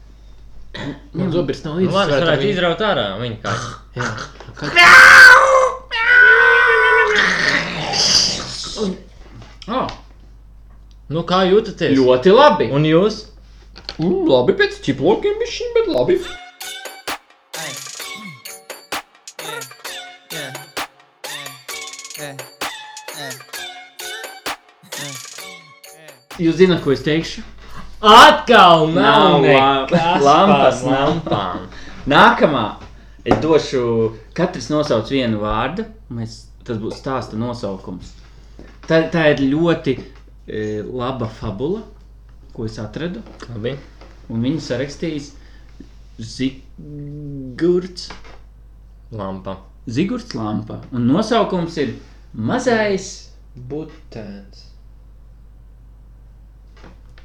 Speaker 3: Man zobrs nav
Speaker 1: Nu,
Speaker 3: līdz.
Speaker 1: labi, es varētu izraut ārā viņa kaķi.
Speaker 3: Jā.
Speaker 2: Oh,
Speaker 1: Nu, kā jūtaties?
Speaker 2: ļoti labi.
Speaker 1: Un jūs?
Speaker 3: Mm, labi pēc čiplokiem bišķiņ, bet labi.
Speaker 2: Jūs zināt, ko es teikšu?
Speaker 1: Atkal nav
Speaker 2: Nav
Speaker 1: nekas
Speaker 2: la- lampas,
Speaker 1: par
Speaker 2: nav.
Speaker 1: lampām.
Speaker 2: Nākamā. Es došu, katrs nosauc vienu vārdu. Mēs, tas būs stāsta nosaukums. Tā, tā ir ļoti e, laba fabula, ko es atradu.
Speaker 1: Labi.
Speaker 2: Un viņu sarakstījis Zigorts,
Speaker 1: Lampa.
Speaker 2: Zigorts Lampa. Un nosaukums ir Mazais,
Speaker 3: Butēns.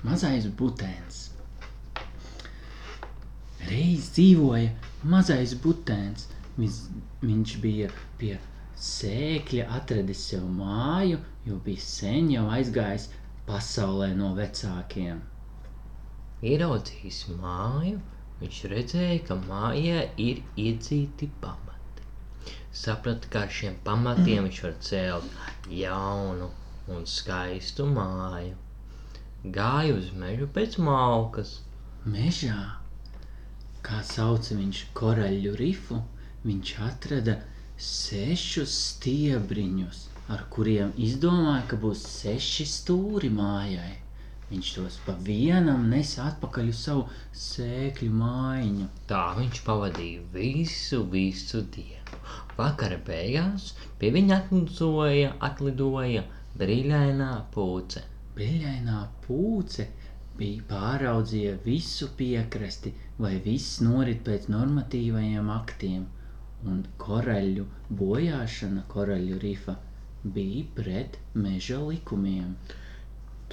Speaker 2: mazais Butēns. Reiz dzīvoja mazais Butēns. Viņš, viņš bija pie sēkļa, atradis sev māju, jo bija sen jau aizgājis pasaulē no vecākiem.
Speaker 1: Ieraudzījis māju, viņš redzēja, ka mājā ir iedzīti pamati. Saprata, ka ar šiem pamatiem viņš var celt jaunu un skaistu māju. Gāja uz mežu pēc malkas.
Speaker 2: Mežā, kā sauc viņš korāļu rifu, viņš atrada sešus stiebriņus, ar kuriem izdomāja, ka būs seši stūri mājai. Viņš tos pa vienam nes atpakaļ uz savu sēkļu mājiņu.
Speaker 1: Tā viņš pavadīja visu, visu dienu. Vakara beigās pie viņa atlidoja, atlidoja brīvainā pūce.
Speaker 2: Peļainā pūce bija pāraudzīja visu piekrasti, vai viss norit pēc normatīvajiem aktiem, un koraļu bojāšana koraļu rifa bija pret meža likumiem.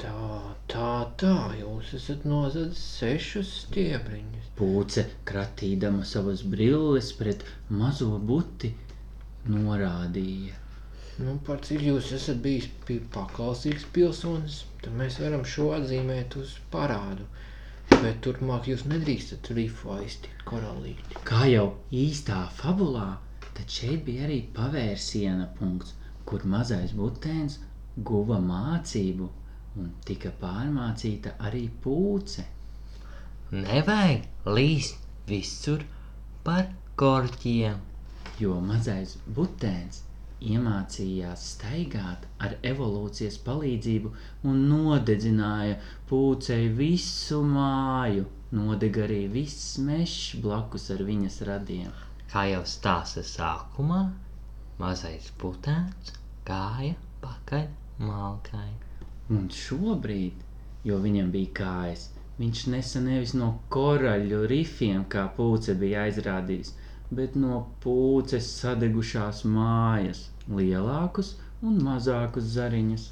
Speaker 3: Tā, tā, tā, jūs esat nozadzis sešus stiebriņus.
Speaker 2: Pūce, kratīdama savas brilles pret mazo buti, norādīja.
Speaker 3: Nu, par cik jūs esat bijis pi- paklausīgs pilsonis, tad mēs varam šo atzīmēt uz parādu. Bet turpmāk jūs nedrīkstat rifu aiztikt koralīti.
Speaker 2: Kā jau īstā fabulā, tad šeit bija arī pavērsiena punkts, kur mazais butēns guva mācību un tika pārmācīta arī pūce.
Speaker 1: Nevajag līst visur par korķiem.
Speaker 2: Jo mazais butēns iemācījās staigāt ar evolūcijas palīdzību un nodedzināja pūcei visu māju. Nodeg arī viss mežs blakus ar viņas radiem.
Speaker 1: Kā jau stāsta sākumā, mazais putekļs gāja pakaļ malkai.
Speaker 2: Un šobrīd, jo viņam bija kājas, viņš nesa nevis no koraļu rifiem, kā pūce bija aizrādījis, bet no pūces sadegušās mājas, lielākus un mazākus zariņus.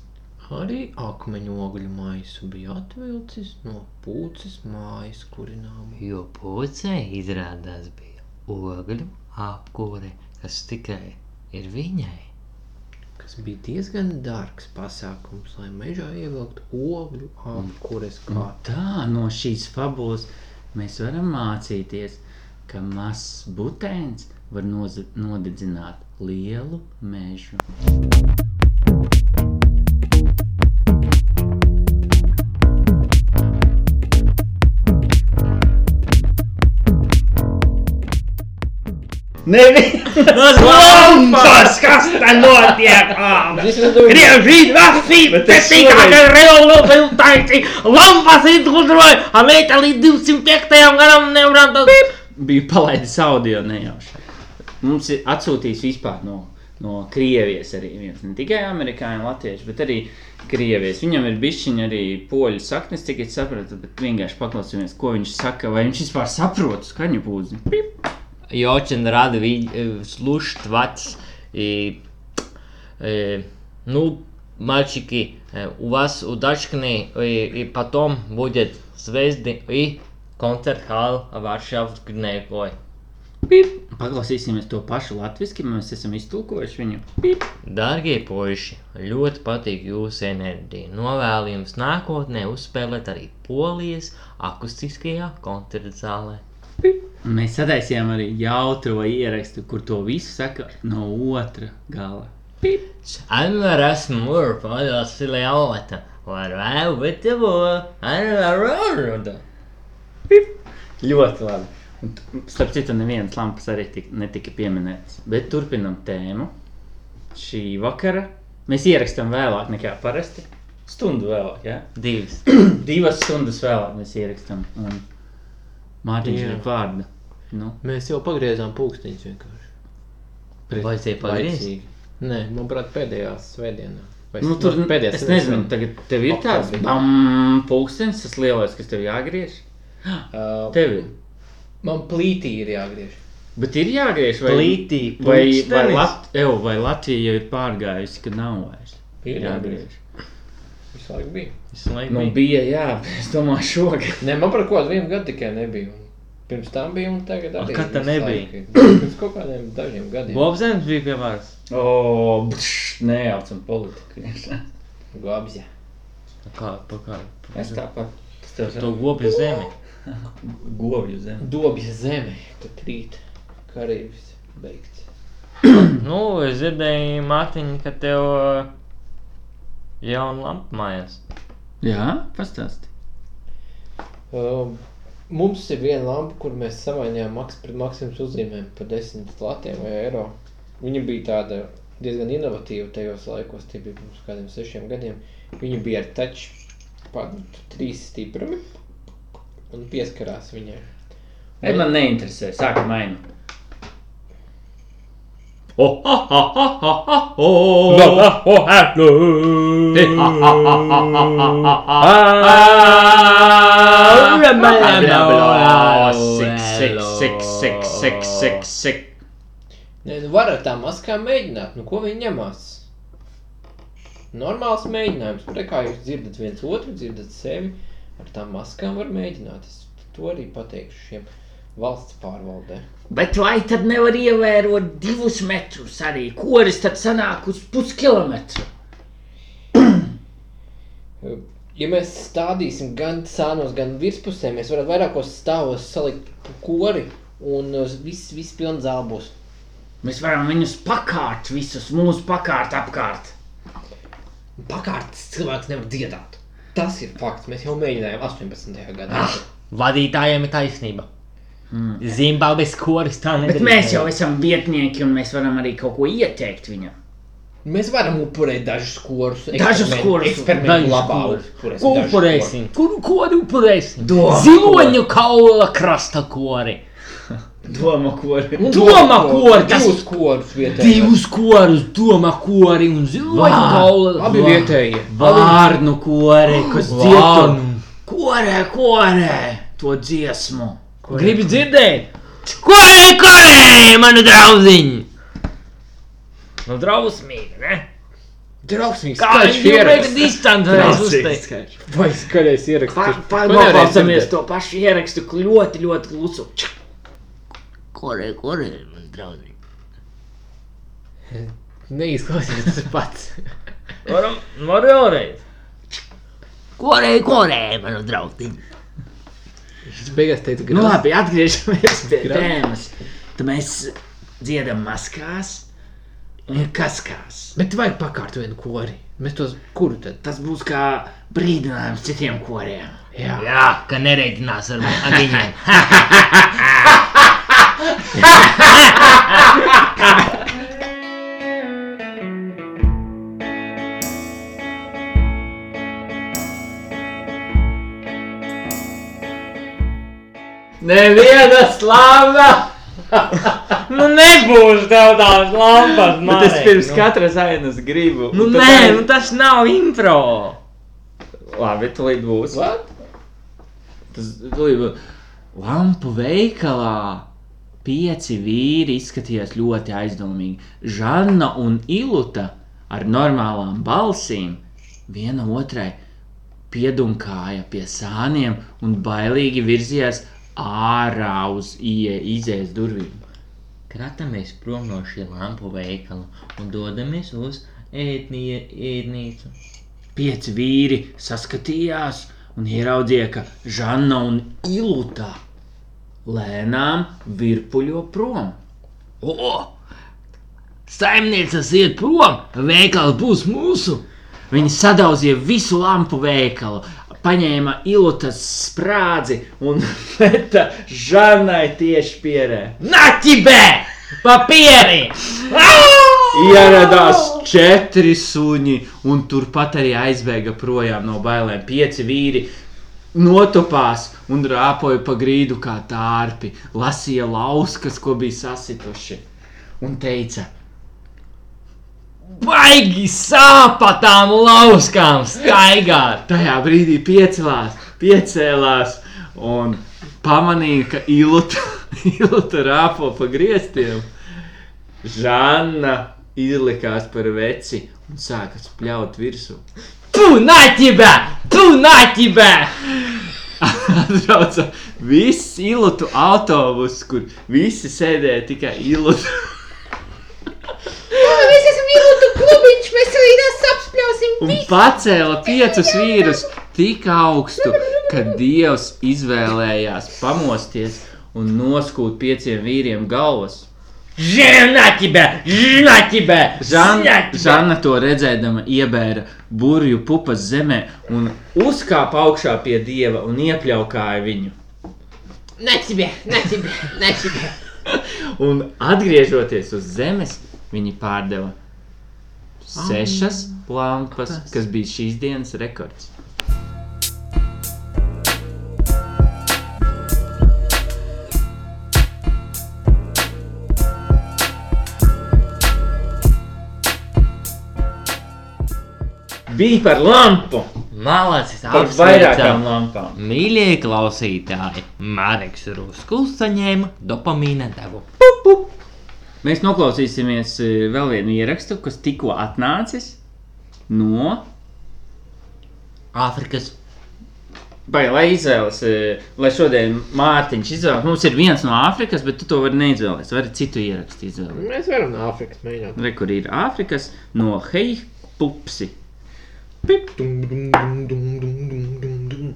Speaker 3: Arī akmeņu ogļu maisu bija atvilcis no pūces mājas kurināmu.
Speaker 1: Jo pūcei izrādās bija ogļu apkūre, kas tikai ir viņai.
Speaker 3: Kas bija diezgan dārgs pasākums, lai mežā ievilktu ogļu
Speaker 2: Mm.
Speaker 3: apkures
Speaker 2: Un
Speaker 3: kā
Speaker 2: tā no šīs fabulas mēs varam mācīties, ka mazs butēns var noz- nodedzināt lielu mežu.
Speaker 4: Zvaigznes, kas te notiek? Griežīt, lasīt, tas ir kā revolūcija. Lampas izgudroja, Amerikā līdz 205. gadam nevaram tas.
Speaker 2: biju palaidis audio nejauši. Mums ir atsūtījis vispār no, no Krievijas arī viens. Ne tikai amerikāņu, latviešu, bet arī Krievijas. Viņam ir bišķiņa arī poļu saknes, cik es sapratu, bet vienkārši paklausīsimies, ko viņš saka, vai viņš vispār saprot skaņu pūzni. Pip!
Speaker 1: И очень рад ви- э, слушать вас. И, э, ну, мальчики, э, у вас удачный и, и потом будет звезды и концерт Хал Варшав Гнегой.
Speaker 2: Paklausīsimies to pašu latviešu, mēs esam iztulkojuši viņu.
Speaker 1: Dārgie puiši, ļoti patīk jūsu enerģija. Novēlu jums nākotnē uzspēlēt arī polijas akustiskajā koncerta zālē.
Speaker 2: Mēs sadaisījām arī jautro ierakstu, kur to visu saka no otra gala.
Speaker 1: Anvar esmu Urpājas filiālata. Var vēl bitavo, Anvar Rorda.
Speaker 2: Ļoti labi. Un, t- starp citu, nevienas lampas arī tik, netika pieminētas. Bet turpinam tēmu. Šī vakara mēs ierakstām vēlāk nekā parasti. Stundu vēlāk, jā.
Speaker 1: Divas.
Speaker 2: Divas stundas vēlāk mēs ierakstām. Un Mārtiņš
Speaker 3: Jā.
Speaker 2: ir vārda. Nu,
Speaker 3: Mēs jau pagriezām pulksteņus vienkārši.
Speaker 2: pret-
Speaker 1: Vajadzēja pagriezt?
Speaker 2: laicīgi.
Speaker 3: Nē, manuprāt, pēdējā svētdienā. Vai
Speaker 2: Nu,
Speaker 3: s-
Speaker 2: tur
Speaker 3: nu,
Speaker 2: pēdējais. Es
Speaker 3: svētdienā.
Speaker 2: nezinu, tagad tev ir tāds
Speaker 3: Oktobrī.
Speaker 2: bam, pulkstenis, tas lielais, kas tev jāgriež.
Speaker 3: Ā,
Speaker 2: Tev ir.
Speaker 3: Uh, Man plītī ir jāgriež.
Speaker 2: Bet ir jāgriež vai
Speaker 1: Plītī
Speaker 2: Vai, vai,
Speaker 1: pulkstenis?
Speaker 2: Lat... Ev, vai Latvija jau ir pārgājusi, ka nav vairs?
Speaker 3: Ir jāgriež. Visu laiku bija.
Speaker 1: Visu laiku
Speaker 2: Nu,
Speaker 1: bija.
Speaker 2: bija, jā, bet es domāju, šogad.
Speaker 3: Nē, man par kaut kādu vienu gadu tikai nebija. Un Pirms tam bija un tagad arī.
Speaker 1: kad tā
Speaker 3: visu
Speaker 1: nebija?
Speaker 3: laiku ir. Nu, Pirms kaut kādiem dažiem gadiem.
Speaker 1: Bobsēns bija pie varas.
Speaker 2: O, bš, nejaucam politiku.
Speaker 3: Gobzja.
Speaker 1: Kā, pa kā?
Speaker 2: Es tāpat. Tas tev
Speaker 1: To gobju zemi.
Speaker 2: govju zem.
Speaker 3: Dobja zeme, kad krīt karības beigts.
Speaker 1: Nu, es dzirdēju, Mārtiņ, ka tev ā, jauna lampa mājās.
Speaker 2: Jā, pastāsti.
Speaker 3: Um, Mums ir viena lampa, kur mēs samainījām maks pret maksimumu uzzīmēm par 10 latiem vai eiro. Viņa bija tāda diezgan inovatīva tajos laikos, tie bija pirms kādiem sešiem gadiem. Viņa bija ar touch padu trīs stiprumi un pieskarās viņai.
Speaker 2: Ei, man neinteresē, sāka mainu.
Speaker 4: Oh, ha, ha, ha, ha, ha, oh.
Speaker 1: Blah,
Speaker 4: oh, hello. Hey, ha, ha, ha, ha, ha, ha,
Speaker 2: Ah!
Speaker 4: ha. Ah,
Speaker 3: Remember.
Speaker 2: Blah, blah, Six, six, six, six, six, six, six.
Speaker 3: Nē, nu var ar tām maskām mēģināt, nu ko viņi ņemās? Normāls mēģinājums, kur kā jūs dzirdat viens otru, dzirdat sevi, ar tām maskām var mēģināt. Es to arī pateikšu šiem valsts pārvaldē.
Speaker 4: Bet vai tad nevar ievērot divus metrus arī? Koris tad sanāk uz puskilometru?
Speaker 3: Ja mēs stādīsim gan sānos, gan virspusē, mēs varam vairākos stāvos salikt kori un uh, viss, viss pilns zāles būs.
Speaker 4: Mēs varam viņus pakārt, visus mūsu pakārt apkārt.
Speaker 3: Pakārtas cilvēks nevar dziedāt. Tas ir fakts. Mēs jau mēģinājām 18. gadā.
Speaker 4: Ah!
Speaker 1: Vadītājiem ir taisnība.
Speaker 2: Hmm.
Speaker 1: Zimbabves koris tā
Speaker 4: Bet
Speaker 1: nedarīja.
Speaker 4: mēs jau esam vietnieki un mēs varam arī kaut ko ieteikt viņam.
Speaker 3: Mēs varam upurēt dažus kursus.
Speaker 4: Dažus kursus.
Speaker 3: eksperimentu labā upurēsim.
Speaker 1: Ko
Speaker 3: dažus kursus.
Speaker 1: upurēsim? Kur kori upurēsim?
Speaker 4: Doma
Speaker 1: Ziloņu kaula krasta kori.
Speaker 2: Doma, ko ir.
Speaker 3: Un
Speaker 1: Doma
Speaker 3: doma
Speaker 1: kori, tas-
Speaker 3: Divus kursus vietējā.
Speaker 1: Divus korus, doma kori un ziloņu
Speaker 4: Vā,
Speaker 1: kaula.
Speaker 3: Abi vietējie.
Speaker 4: Vārnu kore, kas dziedā.
Speaker 1: Vārnu.
Speaker 4: Kore, kore, to dziesmu.
Speaker 1: Gribi dzirdēt? Kori, kori, manu drauziņu! Nu, drausmīgi, ne?
Speaker 3: Drausmīgs.
Speaker 1: Kā viņš jau pēc distancēs uzteicis?
Speaker 2: Skaidrs.
Speaker 3: Vai skaļais ieraksts?
Speaker 4: Pārbaudāmies to pašu ierakstu k- ļoti, ļoti klusu. Čak,
Speaker 1: Kori, kori, manu drauziņu.
Speaker 3: Neizklausīties tas pats.
Speaker 1: Varam, var vēlreiz. Kori, kori, manu drauziņu.
Speaker 3: Viņš beigās teica, ka
Speaker 4: Nu labi, atgriežamies pie
Speaker 3: Gra-
Speaker 4: tēmas. Tad mēs dziedam maskās un kaskās.
Speaker 3: Bet vajag pakārt vienu kori. Mēs tos kuru tad?
Speaker 4: Tas būs kā brīdinājums citiem koriem.
Speaker 3: Jā.
Speaker 1: Jā, ka nereiķinās ar viņiem.
Speaker 3: Neviena slava!
Speaker 1: Nu nebūs tev tādas lampas,
Speaker 2: Bet es Nu, pirms katras ainas gribu.
Speaker 1: Nu
Speaker 2: un tad
Speaker 1: nē,
Speaker 2: ainas-
Speaker 1: nu tas nav impro.
Speaker 2: Labi, tūlīt būs. What? Tas tūlīt būs. Lampu veikalā pieci vīri izskatījās ļoti aizdomīgi. Žanna un Iluta ar normālām balsīm viena otrai piedunkāja pie sāniem un bailīgi virzījās ārā uz ie- izējas durvīm.
Speaker 1: Kratamies prom no šī lampu veikala un dodamies uz ētnie, ētnīcu.
Speaker 2: Pieci vīri saskatījās un ieraudzīja, ka Žanna un Iluta lēnām virpuļo prom.
Speaker 1: O! Saimniecības iet prom, veikals būs mūsu.
Speaker 2: Viņi sadauzīja visu lampu veikalu, paņēma Ilutas sprādzi un meta Žannai tieši pierē.
Speaker 1: Naķibē! Papīri!
Speaker 2: Ieradās četri suņi, un turpat arī aizbēga projām no bailēm. Pieci vīri notupās un rāpoja pa grīdu kā tārpi, lasīja lauskas, ko bija sasituši, un teica:
Speaker 1: Baigi sāpatām lauskām staigāt!
Speaker 2: Tajā brīdī piecelās, piecēlās un pamanīja, ka Iluta, Iluta rāpo pa griestiem. Žanna izlikās par veci un sāka spļaut virsū.
Speaker 1: Tu naķibē! Tu naķibē!
Speaker 2: Atbrauca viss Iluta autobus, kur visi sēdēja tikai Iluta.
Speaker 3: Mēs esam jūtu klubiņš, mēs līdās apspļausim.
Speaker 2: Un pacēla piecus vīrus tik augstu, ka Dievs izvēlējās pamosties un noskūt pieciem vīriem galvas.
Speaker 1: Žēnaķibē! Žēnaķibē!
Speaker 2: Žanna, Žanna to redzēdama iebēra burbuļu pupas zemē un uzkāpa augšā pie dieva un iepļaukāja viņu.
Speaker 3: Necibē, necibē, necibē.
Speaker 2: Un atgriežoties uz zemes, viņi pārdeva sešas lampas, kas bija šīs dienas rekords. Bija par lampu.
Speaker 1: Malacis
Speaker 2: Par vairākām lampām.
Speaker 1: Mīļie klausītāji, Marks Ruskuls saņēma dopamīna devu.
Speaker 2: Mēs noklausīsimies e, vēl vienu ierakstu, kas tikko atnācis no
Speaker 1: Āfrikas
Speaker 2: Vai lai izvēlas, e, lai šodien Mārtiņš izvēlas, mums ir viens no Āfrikas, bet tu to vari neizvēlēties. Vari citu ierakstu izvēlēties.
Speaker 3: Mēs varam no Āfrikas mēģināt.
Speaker 2: Re, kur ir Āfrikas no Hei Pupsi.
Speaker 3: Dum, dum, dum, dum, dum, dum, dum, dum.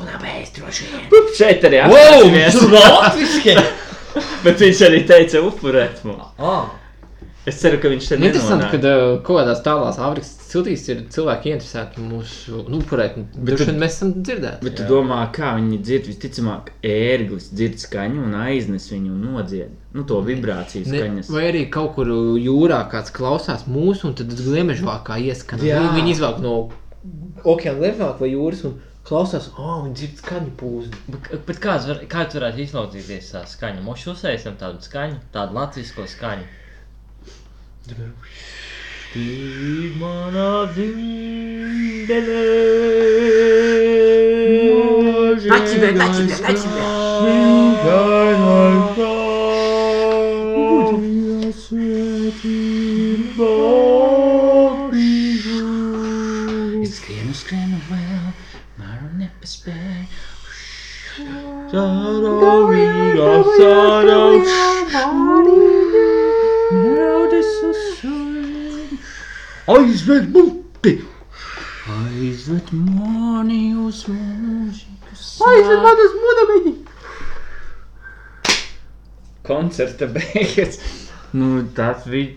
Speaker 2: Pup, šeit arī atnācis.
Speaker 1: Latvijā!
Speaker 2: Bet viņš arī teica upurēt mums.
Speaker 1: Ah.
Speaker 2: Es ceru, ka viņš te
Speaker 3: Interesanti,
Speaker 2: nenonāk.
Speaker 3: ka uh, kaut kādās tālās Āfrikas ciltīs ir cilvēki interesēti mūsu, nu, kurēt, droši vien mēs esam dzirdēti.
Speaker 2: Bet tu domā, kā viņi dzird, visticamāk, ērglis dzird skaņu un aiznes viņu un nodzied. Nu, to vibrāciju
Speaker 3: Ne,
Speaker 2: skaņas.
Speaker 3: vai arī kaut kur jūrā kāds klausās mūsu, un tad gliemežā kā ieskan.
Speaker 2: Jā.
Speaker 3: Viņi, viņi izvelk no okeāna leņķa vai jūras un klausās, ah, oh, viņi dzird skaņu pūzni.
Speaker 1: Bet bet kāds, var, kāds varētu izlauzties tā skaņa? Mums uzsēsim tādu skaņu, tādu latviešu skaņu.
Speaker 2: Es skrienu, skrienu vēl, varu nepaspēju. Aizved būti! Aizved mani uz mūzikas! Aizved mani uz mūzikas! Koncerta beigas! Nu, tas bija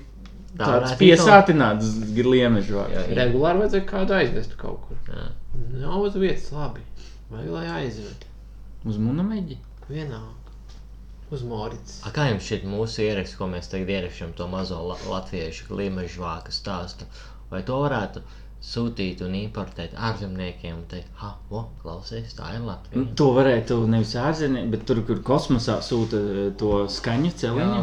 Speaker 1: Tā
Speaker 2: tāds
Speaker 1: varētu
Speaker 2: piesātināts gliemežvārds.
Speaker 3: Regulāri vajadzēja kādu aizvest kaut kur. Jā. Nav uz vietas labi. Vai lai aizved?
Speaker 2: Uz monētas.
Speaker 3: Vienalga. Uz Mārcis.
Speaker 1: A kā jums šķiet mūsu ieraksts, ko mēs tagad ierakstām, to mazo la latviešu gliemežu vāku stāstu? Vai to varētu sūtīt un importēt ārzemniekiem un teikt, ah, o, klausies, tā ir Latvija?
Speaker 2: Mm. To varētu nevis ārzemē, bet tur, kur kosmosā sūta eh, to skaņu celiņu,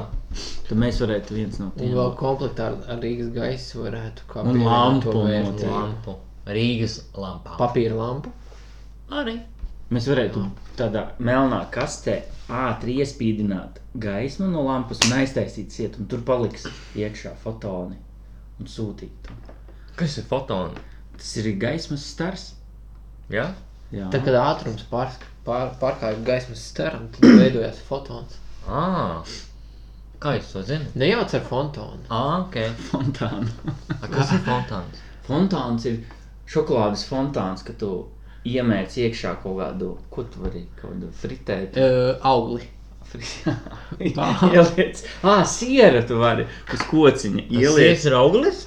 Speaker 2: tad mēs varētu viens no
Speaker 3: Un
Speaker 2: tiem.
Speaker 3: vēl komplektā ar, ar Rīgas gaisu varētu kā
Speaker 2: Un
Speaker 3: pievienot to
Speaker 2: lampu
Speaker 3: vērtību.
Speaker 2: noteikt.
Speaker 1: Lampu. Rīgas lampā.
Speaker 3: Papīra lampu.
Speaker 1: Arī.
Speaker 2: Mēs varētu tādā melnā kastē ātri iespīdināt gaismu no lampas un aiztaisīt sietu, un tur paliks iekšā fotoni un sūtīt. to.
Speaker 1: Kas ir fotoni?
Speaker 2: Tas ir gaismas stars.
Speaker 1: Ja?
Speaker 2: Jā,
Speaker 3: Tad, kad ātrums pārs, pār, pārkāpj gaismas staram, tad veidojās fotons.
Speaker 1: Ah, kā jūs to zinat?
Speaker 3: Nejauc ar fontonu.
Speaker 1: Ah, ok.
Speaker 2: fontāna.
Speaker 1: A, kas ir fontāns?
Speaker 2: fontāns ir šokolādes fontāns, kad tu iemērc iekšā kaut kādu, ko tu vari kaut kādu fritēt.
Speaker 3: Uh, augli.
Speaker 2: Ieliec, ah, siera tu vari uz kociņa. Ieliec,
Speaker 1: ir auglis?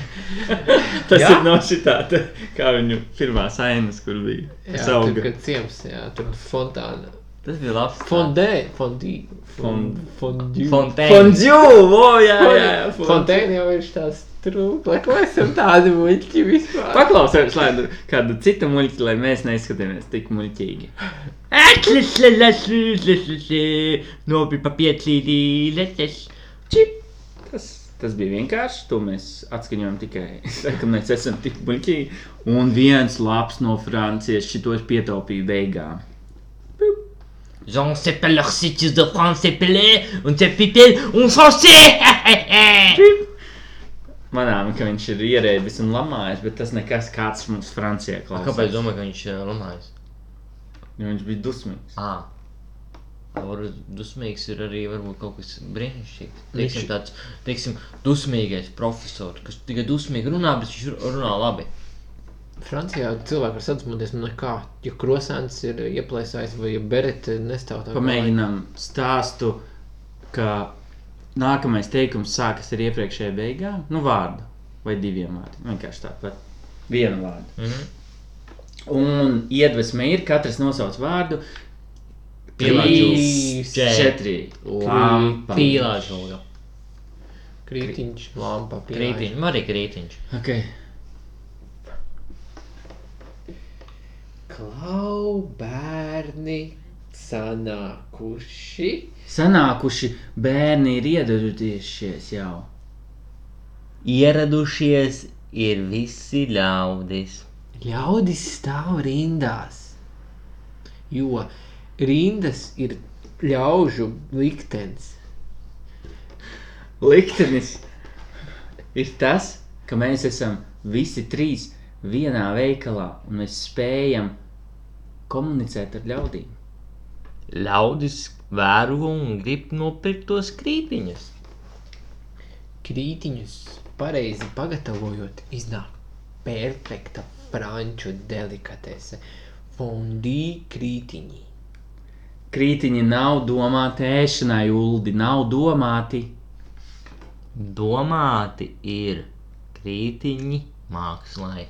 Speaker 2: tas
Speaker 1: jā.
Speaker 2: ir no šitā, te, kā viņu pirmā sainas, kur bija.
Speaker 3: Jā,
Speaker 2: Tas
Speaker 3: tur,
Speaker 2: auga.
Speaker 3: kad ciems, jā, tur fontāna.
Speaker 1: Tas bija labs.
Speaker 3: Fondē, fondī.
Speaker 2: Fond-
Speaker 3: Fondī.
Speaker 1: Fontaine.
Speaker 2: Fondju, o, jā, jā, jā. fond-
Speaker 3: Fontaine jau ir tās trūklas, lai esam tādi muļķi vispār.
Speaker 2: Paklausās, lai tur kādu citu muļķi, lai mēs neizskatāmies tik muļķīgi. Nopi pa piecīdīletes. Čip. Tas, tas bija vienkārši. To mēs atskaņojam tikai, ka mēs esam tik muļķīgi. Un viens labs no Francijas šito es pietaupīju beigām.
Speaker 1: J'en sais pas leur site de France, c'est pelé, on sait pipel, on s'en sait!
Speaker 2: Manām, ka viņš ir ierēdis un lamājis, bet tas nekas kāds mums Francijā klausās.
Speaker 1: Kāpēc domāju, ka viņš ir lamājis?
Speaker 2: Jo viņš bija dusmīgs.
Speaker 1: Ā. Varbūt dusmīgs ir arī varbūt kaut kas brīnišķīgs.
Speaker 3: Viņš-
Speaker 1: Teiksim, tāds, teiksim, dusmīgais profesors, kas tikai dusmīgi runā, bet viņš ru- runā labi.
Speaker 3: Francijā cilvēki var sadzmoties no nekā. Ja krosēns ir ieplēsājis vai ja berete nestāv tā. kā
Speaker 2: Pamēģinām stāstu, ka nākamais teikums sākas ar iepriekšējā beigām, nu vārdu vai diviem vārdiem. Vienkārši tāpat. Vienu vārdu.
Speaker 1: Mm -hmm.
Speaker 2: Un iedvesma ir, katrs nosauc vārdu.
Speaker 1: Trīs,
Speaker 2: četri, lampa.
Speaker 1: Pīlārs vēl.
Speaker 3: lai- Krītiņš, lampa, pīlāņš.
Speaker 1: Krītiņš, arī krītiņš.
Speaker 2: Okay.
Speaker 3: Klau, bērni, sanākuši.
Speaker 2: Sanākuši bērni ir iedadušies jau.
Speaker 1: Ieradušies ir visi ļaudis.
Speaker 3: Ļaudis stāv rindās, jo rindas ir ļaužu liktenis.
Speaker 2: Liktenis ir tas, ka mēs esam visi trīs vienā veikalā un mēs spējam komunicēt ar ļaudīm.
Speaker 1: Ļaudis vēro un grib nopirkt tos krītiņus.
Speaker 3: Krītiņus pareizi pagatavojot, iznāk perfekta franču delikatese - fondī krītiņi.
Speaker 2: Krītiņi nav domāti ēšanai, uldi, nav domāti.
Speaker 1: Domāti ir krītiņi mākslai.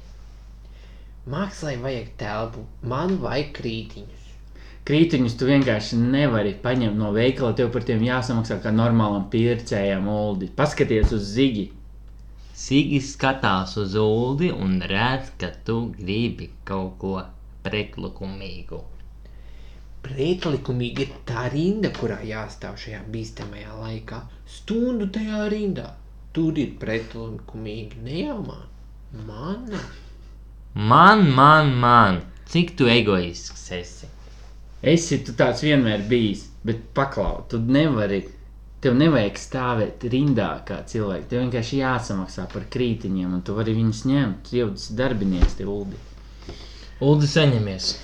Speaker 3: Mākslai vajag telpu, man vajag krītiņus.
Speaker 2: Krītiņus tu vienkārši nevari paņemt no veikala. Tev par tiem jāsamaksā kā normālam pircējam, Uldi. Paskaties uz zigi.
Speaker 1: Sigis skatās uz ūdeni un redz, ka tu gribi kaut ko pretlikumīgu.
Speaker 3: Pretlikumīgi ir tā rinda, kurā jāstāv šajā bīstamajā laikā. Stundu tajā rindā. Tur ir pretlikumīgi nejāmā. Mana.
Speaker 1: Man, man, man, cik tu egoisks esi?
Speaker 2: Esi tu tāds vienmēr bijis, bet paklau, tu nevari. Tev nevajag stāvēt rindā kā cilvēkam. Tev vienkārši jāsamaksā par krītiņiem, un tu vari viņus ņemt. Tu jau esi darbinieks, tie uldi.
Speaker 1: Uldi saņemies.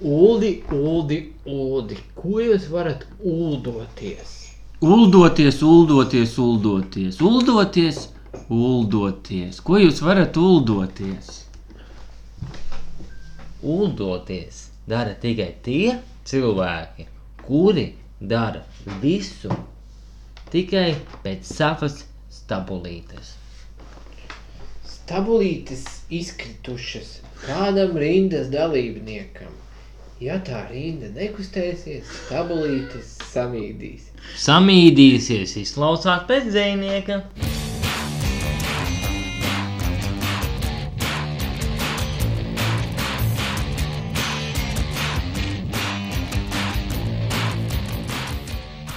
Speaker 3: Uldi, uldi, uldi. Ko jūs varat uldoties?
Speaker 2: Uldoties, uldoties, uldoties, uldoties, uldoties. Ko jūs varat uldoties?
Speaker 1: Uldoties dara tikai tie cilvēki, kuri dara visu tikai pēc savas stabulītes.
Speaker 3: Stabulītes izkritušas kādam rindas dalībniekam. Ja tā rinda nekustēsies, stabulītes samīdīs.
Speaker 1: Samīdīsies, izklausās pēc dzinieka.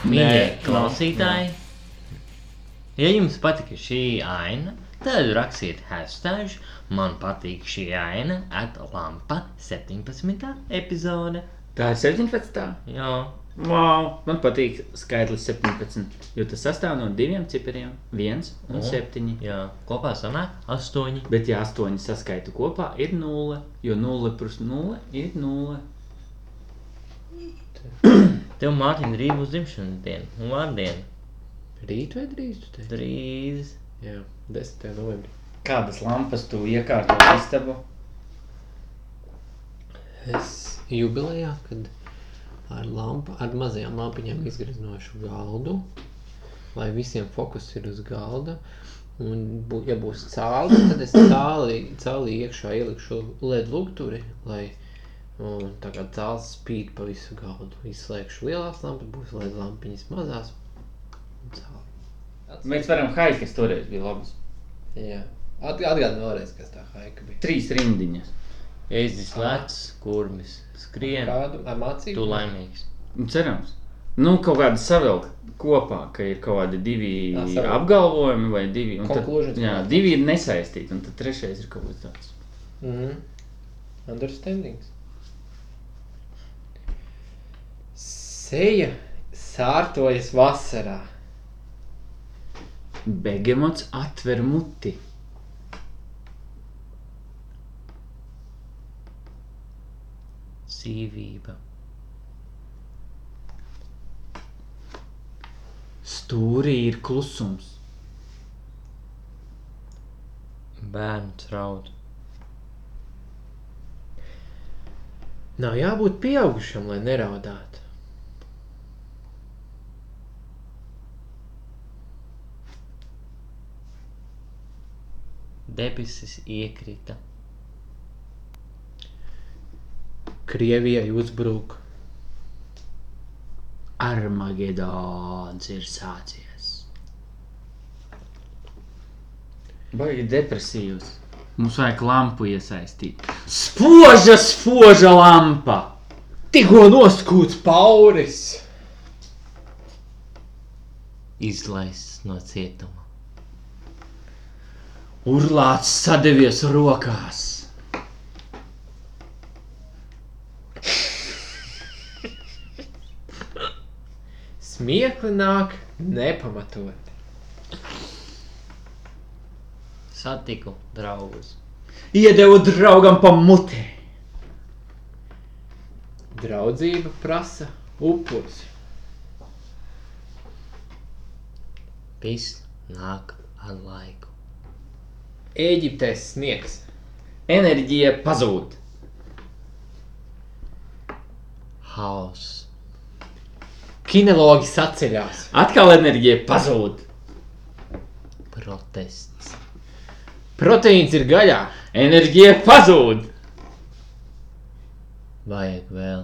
Speaker 1: Mīļie
Speaker 2: Nē,
Speaker 1: klausītāji, ja jums patika šī aina, tad rakstiet hashtag man patīk šī aina at lampa 17. epizode.
Speaker 2: Tā ir 17.
Speaker 1: Jā,
Speaker 2: Wow. Man patīk skaitlis 17, jo tas sastāv no diviem cipariem - 1 un
Speaker 1: Un?
Speaker 2: 7.
Speaker 1: jā, kopā sanāk astoņi.
Speaker 2: Bet, ja 8 saskaita kopā, ir 0, jo 0 plus 0 ir 0.
Speaker 1: Tev Mārtiņa rīt būs dzimšanas diena un vārdiena.
Speaker 3: Rīt vai drīz? tu teici?
Speaker 1: Drīz.
Speaker 3: Jā, 10. novembrī.
Speaker 2: Kādas lampas tu iekārtoji istabu?
Speaker 3: Es jubilejā, kad ar, lampa, ar mazajām lampiņām izgrieznošu galdu, lai visiem fokus ir uz galda. Un, bū- ja būs cāli, tad es cāli, cāli iekšā ielikšu LED lukturi, lai un, tā kā cāls spīd pa visu galdu. Izslēgšu lielās lampiņas, būs LED lampiņas mazās. un cāli.
Speaker 2: Mēs varam haikot, kas toreiz bija labs.
Speaker 3: Jā. At- Atgādini vēlreiz, kas tā haika bija.
Speaker 2: Trīs rindiņas.
Speaker 1: Ēzis lēts, kurmis, skrien.
Speaker 3: Kādu ar mācību?
Speaker 1: Tu laimīgs.
Speaker 2: Nu, Cerams. Nu, kaut kāda savilka kopā, ka ir kaut kādi divi
Speaker 3: Tā savilka.
Speaker 2: apgalvojumi vai divi. un tad-
Speaker 3: Conclusions.
Speaker 2: Jā, divi ir nesaistīti, un tad trešais ir kaut kas tāds.
Speaker 3: Mhm. Understandings. Seja sārtojas vasarā.
Speaker 2: Begemots atver muti.
Speaker 1: Sīvība.
Speaker 2: Stūrī ir klusums.
Speaker 1: Bērns raud.
Speaker 3: Nav jābūt pieaugušam, lai neraudātu.
Speaker 1: Debesis iekrita.
Speaker 3: Krievijai uzbruk.
Speaker 2: Armagedons ir sācies. Baigi depresīvs. Mums vajag lampu iesaistīt. Spoža, spoža lampa!
Speaker 3: Tikko noskūts pauris.
Speaker 1: Izlaists no cietuma.
Speaker 2: Urlāts sadevies rokās.
Speaker 3: Smiekli nāk nepamatot.
Speaker 1: Satiku draugus.
Speaker 2: Iedeva draugam pa mutē.
Speaker 3: Draudzība prasa upurus.
Speaker 1: Viss nāk ar laiku.
Speaker 3: Ēģiptē sniegs.
Speaker 2: Enerģija pazūd.
Speaker 1: Haoss.
Speaker 3: Kinologi saceļās.
Speaker 2: Atkal enerģija pazūd.
Speaker 1: Protests.
Speaker 3: Proteīns ir gaļā.
Speaker 2: Enerģija pazūd.
Speaker 1: Vajag vēl.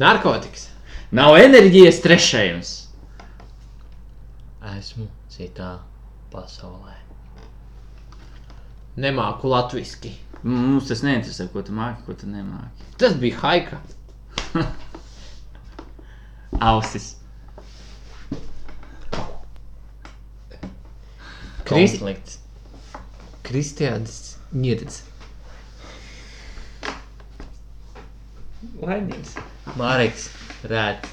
Speaker 3: Narkotikas.
Speaker 2: Nav enerģijas trešajums.
Speaker 1: Esmu citā pasaulē.
Speaker 3: Nemāku latviski.
Speaker 2: Mums tas neinteresē, ko tu māki, ko tu nemāki.
Speaker 3: Tas bija haika.
Speaker 2: Ausis.
Speaker 3: Kris-
Speaker 1: Konflikts.
Speaker 3: Kristians Niedz.
Speaker 2: Laimīgs.
Speaker 1: Mareks. Rēt.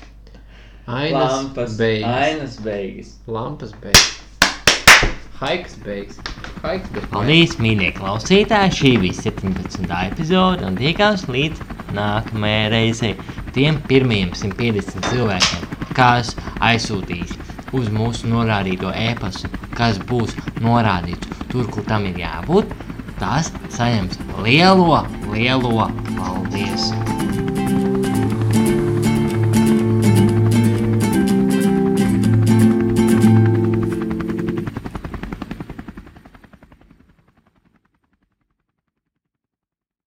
Speaker 3: Ainas
Speaker 2: Lampas
Speaker 3: beigas.
Speaker 2: Ainas beigas.
Speaker 3: Lampas beigas. Haikas beigas. Haikas beigas.
Speaker 1: Paldies, mīļie klausītāji! Šī bija 17. epizode, un tiekās līdz nākamajai reizei. Tiem pirmajiem 150 cilvēkiem, kas aizsūtīs uz mūsu norādīto e-pastu, kas būs norādīts tur, kur tam ir jābūt, tas saņems lielo, lielo paldies!